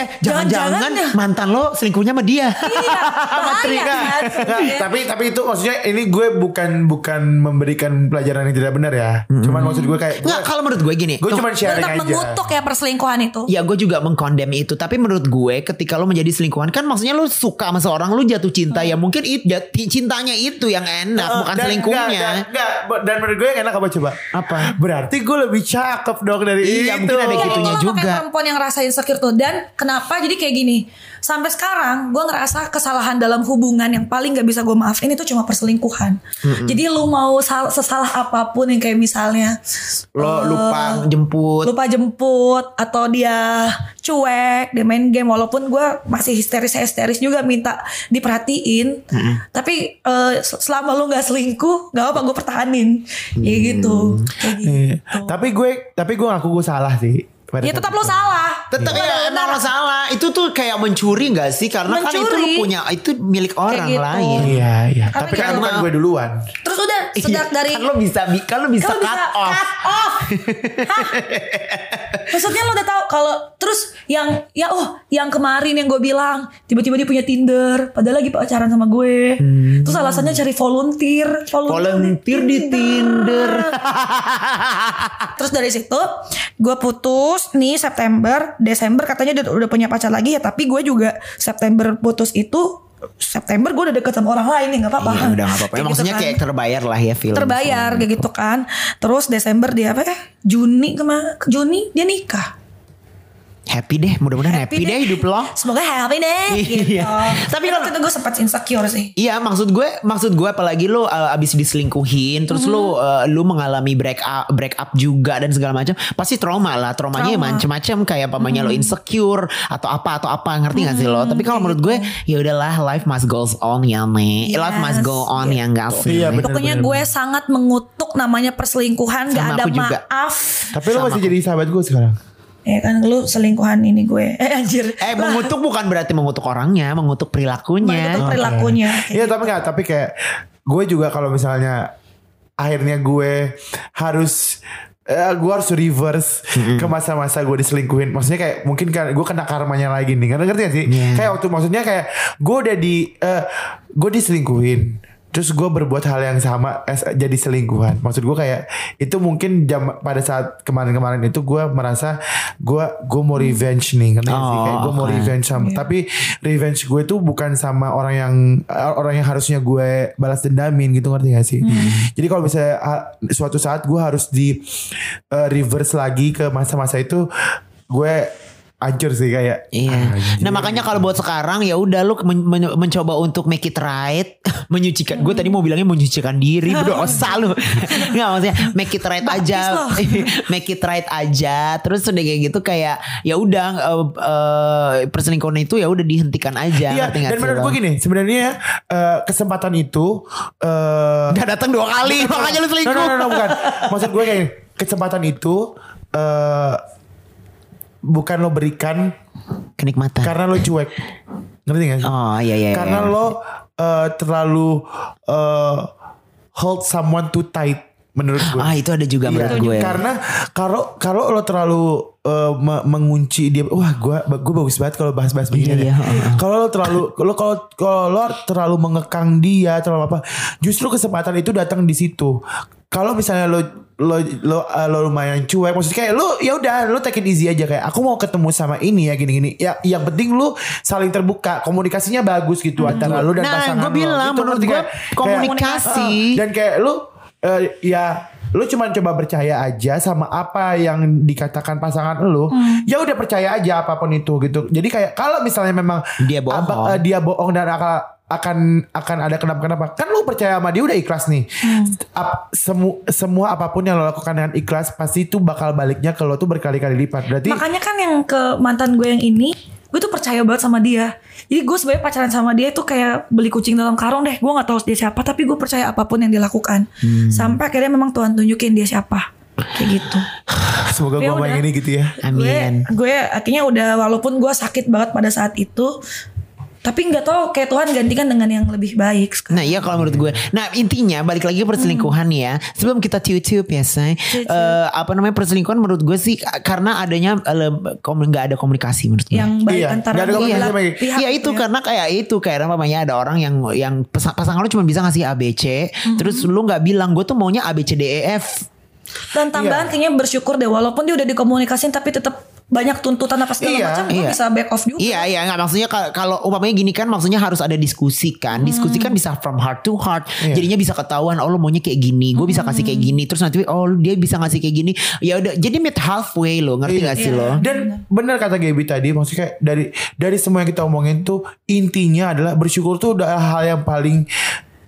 [SPEAKER 1] eh, jangan-jangan
[SPEAKER 2] jangan-jangan.
[SPEAKER 1] mantan lo selingkuhnya sama dia.
[SPEAKER 2] Iya, bahaya kan.
[SPEAKER 3] Nggak, tapi tapi itu maksudnya ini gue bukan bukan memberikan pelajaran yang tidak benar ya. Cuman maksud gue kayak gue,
[SPEAKER 1] Nggak, kalau menurut gue gini.
[SPEAKER 3] gue cuman sharing
[SPEAKER 2] Tetap
[SPEAKER 3] aja.
[SPEAKER 2] mengutuk ya perselingkuhan itu.
[SPEAKER 1] Ya gue juga mengkondem itu Tapi menurut gue ketika lo menjadi selingkuhan Kan maksudnya lo suka sama seorang Lo jatuh cinta Ya
[SPEAKER 2] Hmm.
[SPEAKER 1] mungkin it, jat- cintanya itu yang enak
[SPEAKER 3] Eh,
[SPEAKER 1] Bukan
[SPEAKER 3] dan-
[SPEAKER 1] selingkuhnya
[SPEAKER 3] nggak, nggak, nggak. dan menurut gue yang enak apa coba?
[SPEAKER 1] Apa?
[SPEAKER 3] Berarti gue lebih cakep dong dari
[SPEAKER 1] Iya,
[SPEAKER 3] itu.
[SPEAKER 1] mungkin ada
[SPEAKER 2] Iya,
[SPEAKER 1] gitunya
[SPEAKER 2] itu
[SPEAKER 1] juga.
[SPEAKER 2] Kayak perempuan yang rasa insecure tuh dan kenapa jadi kayak gini sampai sekarang gue ngerasa kesalahan dalam hubungan yang paling gak bisa gue maafin itu cuma perselingkuhan jadi lu mau sal- sesalah apapun yang kayak misalnya
[SPEAKER 1] Lo lupa Hmm. jemput
[SPEAKER 2] lupa jemput atau dia cuek dia main game walaupun gue masih histeris histeris juga minta diperhatiin tapi eh, se- selama lu nggak selingkuh nggak apa gue pertahanin ya gitu
[SPEAKER 1] Hmm.
[SPEAKER 2] kayak gitu
[SPEAKER 3] Iya. Tapi gue tapi gue ngaku gue salah sih. Pada
[SPEAKER 2] ya
[SPEAKER 3] saat
[SPEAKER 2] tetap
[SPEAKER 3] itu.
[SPEAKER 2] lu salah
[SPEAKER 1] Iya, Tetap
[SPEAKER 2] Lu
[SPEAKER 1] ya
[SPEAKER 2] ada
[SPEAKER 1] emang
[SPEAKER 2] benar.
[SPEAKER 1] lo salah Itu tuh kayak mencuri gak sih Karena kan itu lo
[SPEAKER 2] nah. Mencuri.
[SPEAKER 1] punya Itu milik orang
[SPEAKER 2] gitu.
[SPEAKER 1] lain
[SPEAKER 3] Iya iya.
[SPEAKER 2] Karena
[SPEAKER 3] Tapi kan
[SPEAKER 2] kita
[SPEAKER 3] bukan
[SPEAKER 1] mau-
[SPEAKER 3] gue duluan.
[SPEAKER 2] Terus udah sedang
[SPEAKER 1] Iya,
[SPEAKER 2] dari
[SPEAKER 1] kan lo bisa bi- kan lo bisa
[SPEAKER 2] Kalau
[SPEAKER 1] cut off
[SPEAKER 2] cut off. Hah? Maksudnya lo udah tahu kalau terus yang ya oh yang kemarin yang gue bilang tiba-tiba dia punya Tinder padahal lagi pacaran sama gue. Terus alasannya cari volunteer,
[SPEAKER 1] Hmm. volunteer di Tinder
[SPEAKER 2] Terus dari situ gue putus nih September, Desember katanya dia udah punya pacar lagi ya tapi gue juga September putus itu September gue udah deket sama orang lain ya nggak apa-apa.
[SPEAKER 1] Iya, udah nggak apa-apa.
[SPEAKER 2] Kayak gitu
[SPEAKER 1] Maksudnya
[SPEAKER 2] kan.
[SPEAKER 1] kayak terbayar lah ya film.
[SPEAKER 2] terbayar kayak gitu kan. Terus Desember dia apa ya? Juni kemana? Juni dia nikah.
[SPEAKER 1] Happy deh, mudah-mudahan happy, deh hidup lo.
[SPEAKER 2] Semoga happy deh gitu.
[SPEAKER 1] Iya. Tapi
[SPEAKER 2] Tapi
[SPEAKER 1] lo-
[SPEAKER 2] waktu itu gue sempat insecure sih.
[SPEAKER 1] Iya maksud gue maksud gue apalagi lu uh, abis diselingkuhin terus lu uh, lu mengalami break up break up juga dan segala macam pasti trauma Mm-hmm. lah traumanya
[SPEAKER 2] Trauma.
[SPEAKER 1] macam-macam kayak pamannya lo insecure atau apa atau apa ngerti gak sih lo tapi kalau menurut gue ya udahlah life must goes on ya me life must
[SPEAKER 2] Yes,
[SPEAKER 1] go on ya enggak sih
[SPEAKER 3] Iya, bener.
[SPEAKER 2] Pokoknya gue sangat mengutuk namanya perselingkuhan,
[SPEAKER 1] Sama
[SPEAKER 2] gak ada
[SPEAKER 1] aku juga.
[SPEAKER 2] maaf.
[SPEAKER 3] Tapi lo
[SPEAKER 1] Sama
[SPEAKER 3] masih
[SPEAKER 1] aku.
[SPEAKER 3] jadi sahabat gue sekarang.
[SPEAKER 2] Ya kan lu selingkuhan ini gue. Eh anjir.
[SPEAKER 1] eh mengutuk bukan berarti mengutuk orangnya mengutuk perilakunya
[SPEAKER 2] Itu perilakunya.
[SPEAKER 3] Iya tapi nggak tapi kayak gue juga kalau misalnya akhirnya gue harus eh, gue harus reverse ke masa-masa gue diselingkuhin maksudnya kayak mungkin kan gue kena karmanya lagi nih ngerti ngerti gak sih
[SPEAKER 1] Iya.
[SPEAKER 3] kayak waktu maksudnya kayak gue udah di eh, gue diselingkuhin terus gue berbuat hal yang sama eh, jadi selingkuhan maksud gue kayak itu mungkin jam pada saat kemarin-kemarin itu gue merasa gue gue mau revenge nih ngerti nggak sih
[SPEAKER 1] Oh,
[SPEAKER 3] kayak gue mau
[SPEAKER 1] oke.
[SPEAKER 3] revenge sama tapi revenge gue tuh bukan sama orang yang eh, orang yang harusnya gue balas dendamin gitu ngerti gak sih
[SPEAKER 1] Hmm.
[SPEAKER 3] jadi kalau misalnya ah, suatu saat gue harus di eh, reverse lagi ke masa-masa itu gue ancur sih kayak Ah,
[SPEAKER 1] Iya. Nah makanya kalau buat sekarang ya udah lu men- men- mencoba untuk make it right, menyucikan. Gue tadi mau bilangnya menyucikan diri, berdosa lu. Enggak maksudnya make it right aja,
[SPEAKER 2] Baptis
[SPEAKER 1] make it right aja. Terus udah kayak gitu kayak ya udah eh, eh, perselingkuhan itu ya udah dihentikan aja.
[SPEAKER 3] Iya,
[SPEAKER 1] ngerti nggak
[SPEAKER 3] dan
[SPEAKER 1] sih
[SPEAKER 3] menurut
[SPEAKER 1] lu?
[SPEAKER 3] gue gini, sebenarnya eh, kesempatan itu eh
[SPEAKER 1] Udah datang dua kali, makanya lu selingkuh.
[SPEAKER 3] No, no, no, no, bukan. Maksud gue kayak gini, kesempatan itu eh bukan lo berikan
[SPEAKER 1] Kenikmatan.
[SPEAKER 3] karena lo cuek. Ngerti gak sih?
[SPEAKER 1] Nah. oh iya iya. iya.
[SPEAKER 3] karena lo eh, terlalu eh, hold someone too tight menurut gue.
[SPEAKER 1] Ah itu ada juga menurut
[SPEAKER 3] Iya,
[SPEAKER 1] gue.
[SPEAKER 3] Karena kalau kalau lo terlalu eh, me- mengunci dia, wah gue gue bagus banget kalau bahas-bahas begini.
[SPEAKER 1] Iya, iya,
[SPEAKER 3] ya.
[SPEAKER 1] heeh.
[SPEAKER 3] Kalau lo terlalu lo kalau kalau lo terlalu mengekang dia, terlalu apa? Justru kesempatan itu datang di situ. Kalau misalnya lo lo lo, eh, lo lumayan cuek, maksudnya kayak lo ya udah lo take it easy aja kayak aku mau ketemu sama ini ya gini-gini. Ya yang penting lo saling terbuka, komunikasinya bagus gitu antara lo dan
[SPEAKER 1] Nah,
[SPEAKER 3] pasangan
[SPEAKER 1] gue
[SPEAKER 3] lo.
[SPEAKER 1] bilang,
[SPEAKER 3] Gitu,
[SPEAKER 1] menurut
[SPEAKER 3] ngerti
[SPEAKER 1] gue
[SPEAKER 3] nggak? Kayak-
[SPEAKER 1] komunikasi.
[SPEAKER 3] Eh, dan kayak lu eh, ya lu cuman coba percaya aja sama apa yang dikatakan pasangan lu ya udah percaya aja apapun itu gitu jadi kayak kalau misalnya memang
[SPEAKER 1] Dia bohong.
[SPEAKER 3] apa- eh, dia bohong dan akan akan akan ada kenapa kenapa kan lu percaya sama dia udah ikhlas nih Ap- semu- semua apapun yang lo lakukan dengan ikhlas pasti itu bakal baliknya ke lo tuh berkali-kali lipat berarti
[SPEAKER 2] Makanya kan yang ke mantan gue yang ini, gue tuh percaya banget sama dia. Jadi gue sebenarnya pacaran sama dia itu kayak beli kucing dalam karung deh. Gue nggak tahu dia siapa, tapi gue percaya apapun yang dilakukan.
[SPEAKER 3] Hmm.
[SPEAKER 2] Sampai akhirnya memang Tuhan tunjukin dia siapa. Kayak gitu.
[SPEAKER 3] semoga
[SPEAKER 2] Ya udah.
[SPEAKER 3] gua main ini gitu ya
[SPEAKER 1] Amin.
[SPEAKER 2] Gue, gue akhirnya udah walaupun gue sakit banget pada saat itu, tapi nggak tahu kayak Tuhan gantikan dengan yang lebih baik. sekarang.
[SPEAKER 1] Nah iya kalau menurut gue Nah intinya balik lagi perselingkuhan ya Sebelum kita tiup-tiup ya say
[SPEAKER 2] Tiup-tiup.
[SPEAKER 1] Eh, Apa namanya perselingkuhan menurut gue sih eh, Karena adanya eh, komu- nggak ada komunikasi menurut gue
[SPEAKER 2] Yang baik
[SPEAKER 3] Iya,
[SPEAKER 2] antara
[SPEAKER 3] nggak ada
[SPEAKER 2] dua
[SPEAKER 3] komunikasi
[SPEAKER 2] belah
[SPEAKER 3] baik.
[SPEAKER 2] pihak
[SPEAKER 1] Iya itu
[SPEAKER 2] gitu ya.
[SPEAKER 1] karena kayak itu kayak namanya ada orang yang yang pesa- pasangan lu cuma bisa ngasih ABC,
[SPEAKER 2] Mm-hmm.
[SPEAKER 1] terus lu nggak bilang gue tuh maunya ABCDEF.
[SPEAKER 2] Dan tambahan
[SPEAKER 3] Iya.
[SPEAKER 2] kayaknya bersyukur deh walaupun dia udah dikomunikasin tapi tetap banyak tuntutan apa segala
[SPEAKER 3] Iya,
[SPEAKER 2] macam gue
[SPEAKER 1] iya.
[SPEAKER 2] bisa back off juga.
[SPEAKER 1] Iya iya nggak maksudnya kal- kalau umpamanya gini kan maksudnya harus ada diskusi kan. Diskusi kan bisa from heart to heart.
[SPEAKER 3] Hmm. Iya. Hmm.
[SPEAKER 1] Jadinya bisa ketahuan oh lu maunya kayak gini, gue bisa kasih kayak gini, terus nanti oh dia bisa ngasih kayak gini. Ya udah jadi meet halfway lo, ngerti
[SPEAKER 3] Iya.
[SPEAKER 1] nggak sih lo?
[SPEAKER 3] Dan benar kata Gaby tadi, maksudnya kayak dari dari semua yang kita omongin tuh intinya adalah bersyukur tuh udah hal yang paling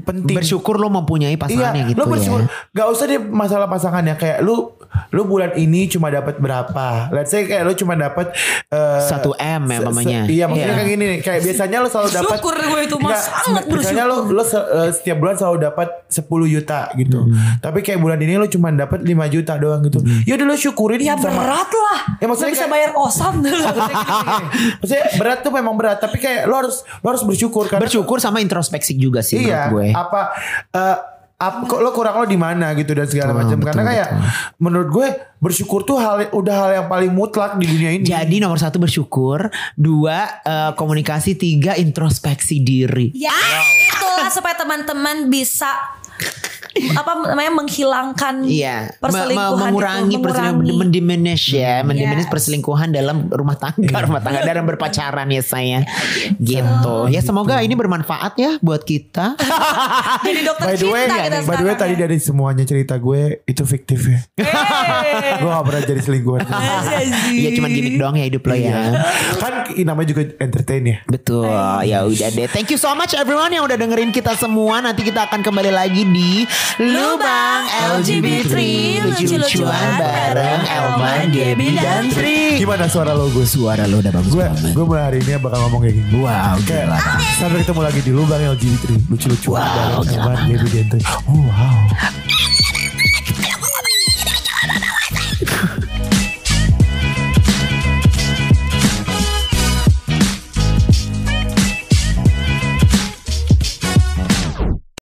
[SPEAKER 3] penting.
[SPEAKER 1] bersyukur lo mempunyai pasangannya
[SPEAKER 3] Iya,
[SPEAKER 1] gitu
[SPEAKER 3] lo bersyukur.
[SPEAKER 1] ya.
[SPEAKER 3] Gak usah deh masalah pasangannya kayak lu lu bulan ini cuma dapat berapa? Let's say kayak lu cuma dapat eh,
[SPEAKER 1] Satu M ya
[SPEAKER 3] se- se-
[SPEAKER 1] mamanya.
[SPEAKER 3] Iya, maksudnya
[SPEAKER 1] Iya.
[SPEAKER 3] kayak gini nih. Kayak biasanya lu selalu dapat
[SPEAKER 2] Syukur gue itu, Mas.
[SPEAKER 3] Nggak,
[SPEAKER 2] Sangat
[SPEAKER 3] Biasanya lu lu se- eh, setiap bulan selalu dapat 10 juta gitu.
[SPEAKER 1] Hmm.
[SPEAKER 3] Tapi kayak bulan ini lu cuma dapat 5 juta doang gitu. Ya udah lu syukurin
[SPEAKER 2] Ya
[SPEAKER 3] sama-
[SPEAKER 2] berat lah.
[SPEAKER 3] Ya, maksudnya
[SPEAKER 2] Nggak bisa
[SPEAKER 3] kayak-
[SPEAKER 2] bayar kosan dulu.
[SPEAKER 3] Maksudnya berat tuh memang berat, tapi kayak lo harus lo harus bersyukur karena
[SPEAKER 1] Bersyukur sama introspeksi juga sih
[SPEAKER 3] iya
[SPEAKER 1] menurut gue.
[SPEAKER 3] apa eh, ap- kok lo kurang lo di mana gitu dan segala
[SPEAKER 1] Betul,
[SPEAKER 3] macam karena
[SPEAKER 1] betul,
[SPEAKER 3] kayak menurut gue bersyukur tuh hal udah hal yang paling mutlak di dunia ini.
[SPEAKER 1] Jadi nomor satu bersyukur, dua eh, komunikasi, tiga introspeksi diri.
[SPEAKER 2] ya itulah supaya teman-teman bisa apa namanya menghilangkan
[SPEAKER 1] Iya, me- me-
[SPEAKER 2] perselingkuhan itu,
[SPEAKER 1] mengurangi, perselingkuhan, mendiminish ya, mendiminish
[SPEAKER 2] Yes.
[SPEAKER 1] perselingkuhan dalam rumah tangga, rumah tangga dalam berpacaran ya saya, gitu. Ya semoga ini bermanfaat ya buat kita.
[SPEAKER 2] jadi dokter
[SPEAKER 3] Ah, By the way,
[SPEAKER 2] cinta kita
[SPEAKER 3] by the way
[SPEAKER 2] sekarang
[SPEAKER 3] tadi
[SPEAKER 2] ya.
[SPEAKER 3] dari semuanya cerita gue itu fiktif ya.
[SPEAKER 2] Yeay.
[SPEAKER 3] gue gak pernah jadi selingkuhan.
[SPEAKER 1] ya cuman gimmick doang ya hidup lo ya.
[SPEAKER 3] kan i- namanya juga entertain ya.
[SPEAKER 1] Betul, ya udah deh. Thank you so much everyone yang udah dengerin kita semua. Nanti kita akan kembali lagi di Lubang LGBT lucu-lucuan bareng Elman, Debbie dan Tri.
[SPEAKER 3] Gimana suara lo gue?
[SPEAKER 1] Suara lo udah bagus
[SPEAKER 3] Gue
[SPEAKER 1] banget.
[SPEAKER 3] gue mulai hari ini bakal ngomong kayak gini.
[SPEAKER 1] Wow,
[SPEAKER 3] Kayak,
[SPEAKER 1] gila banget.
[SPEAKER 3] sampai ketemu lagi di lubang LGBT lucu-lucuan
[SPEAKER 1] Wow,
[SPEAKER 3] wow,
[SPEAKER 1] gila
[SPEAKER 3] bareng Elman, Debbie, dan Tri. Oh wow.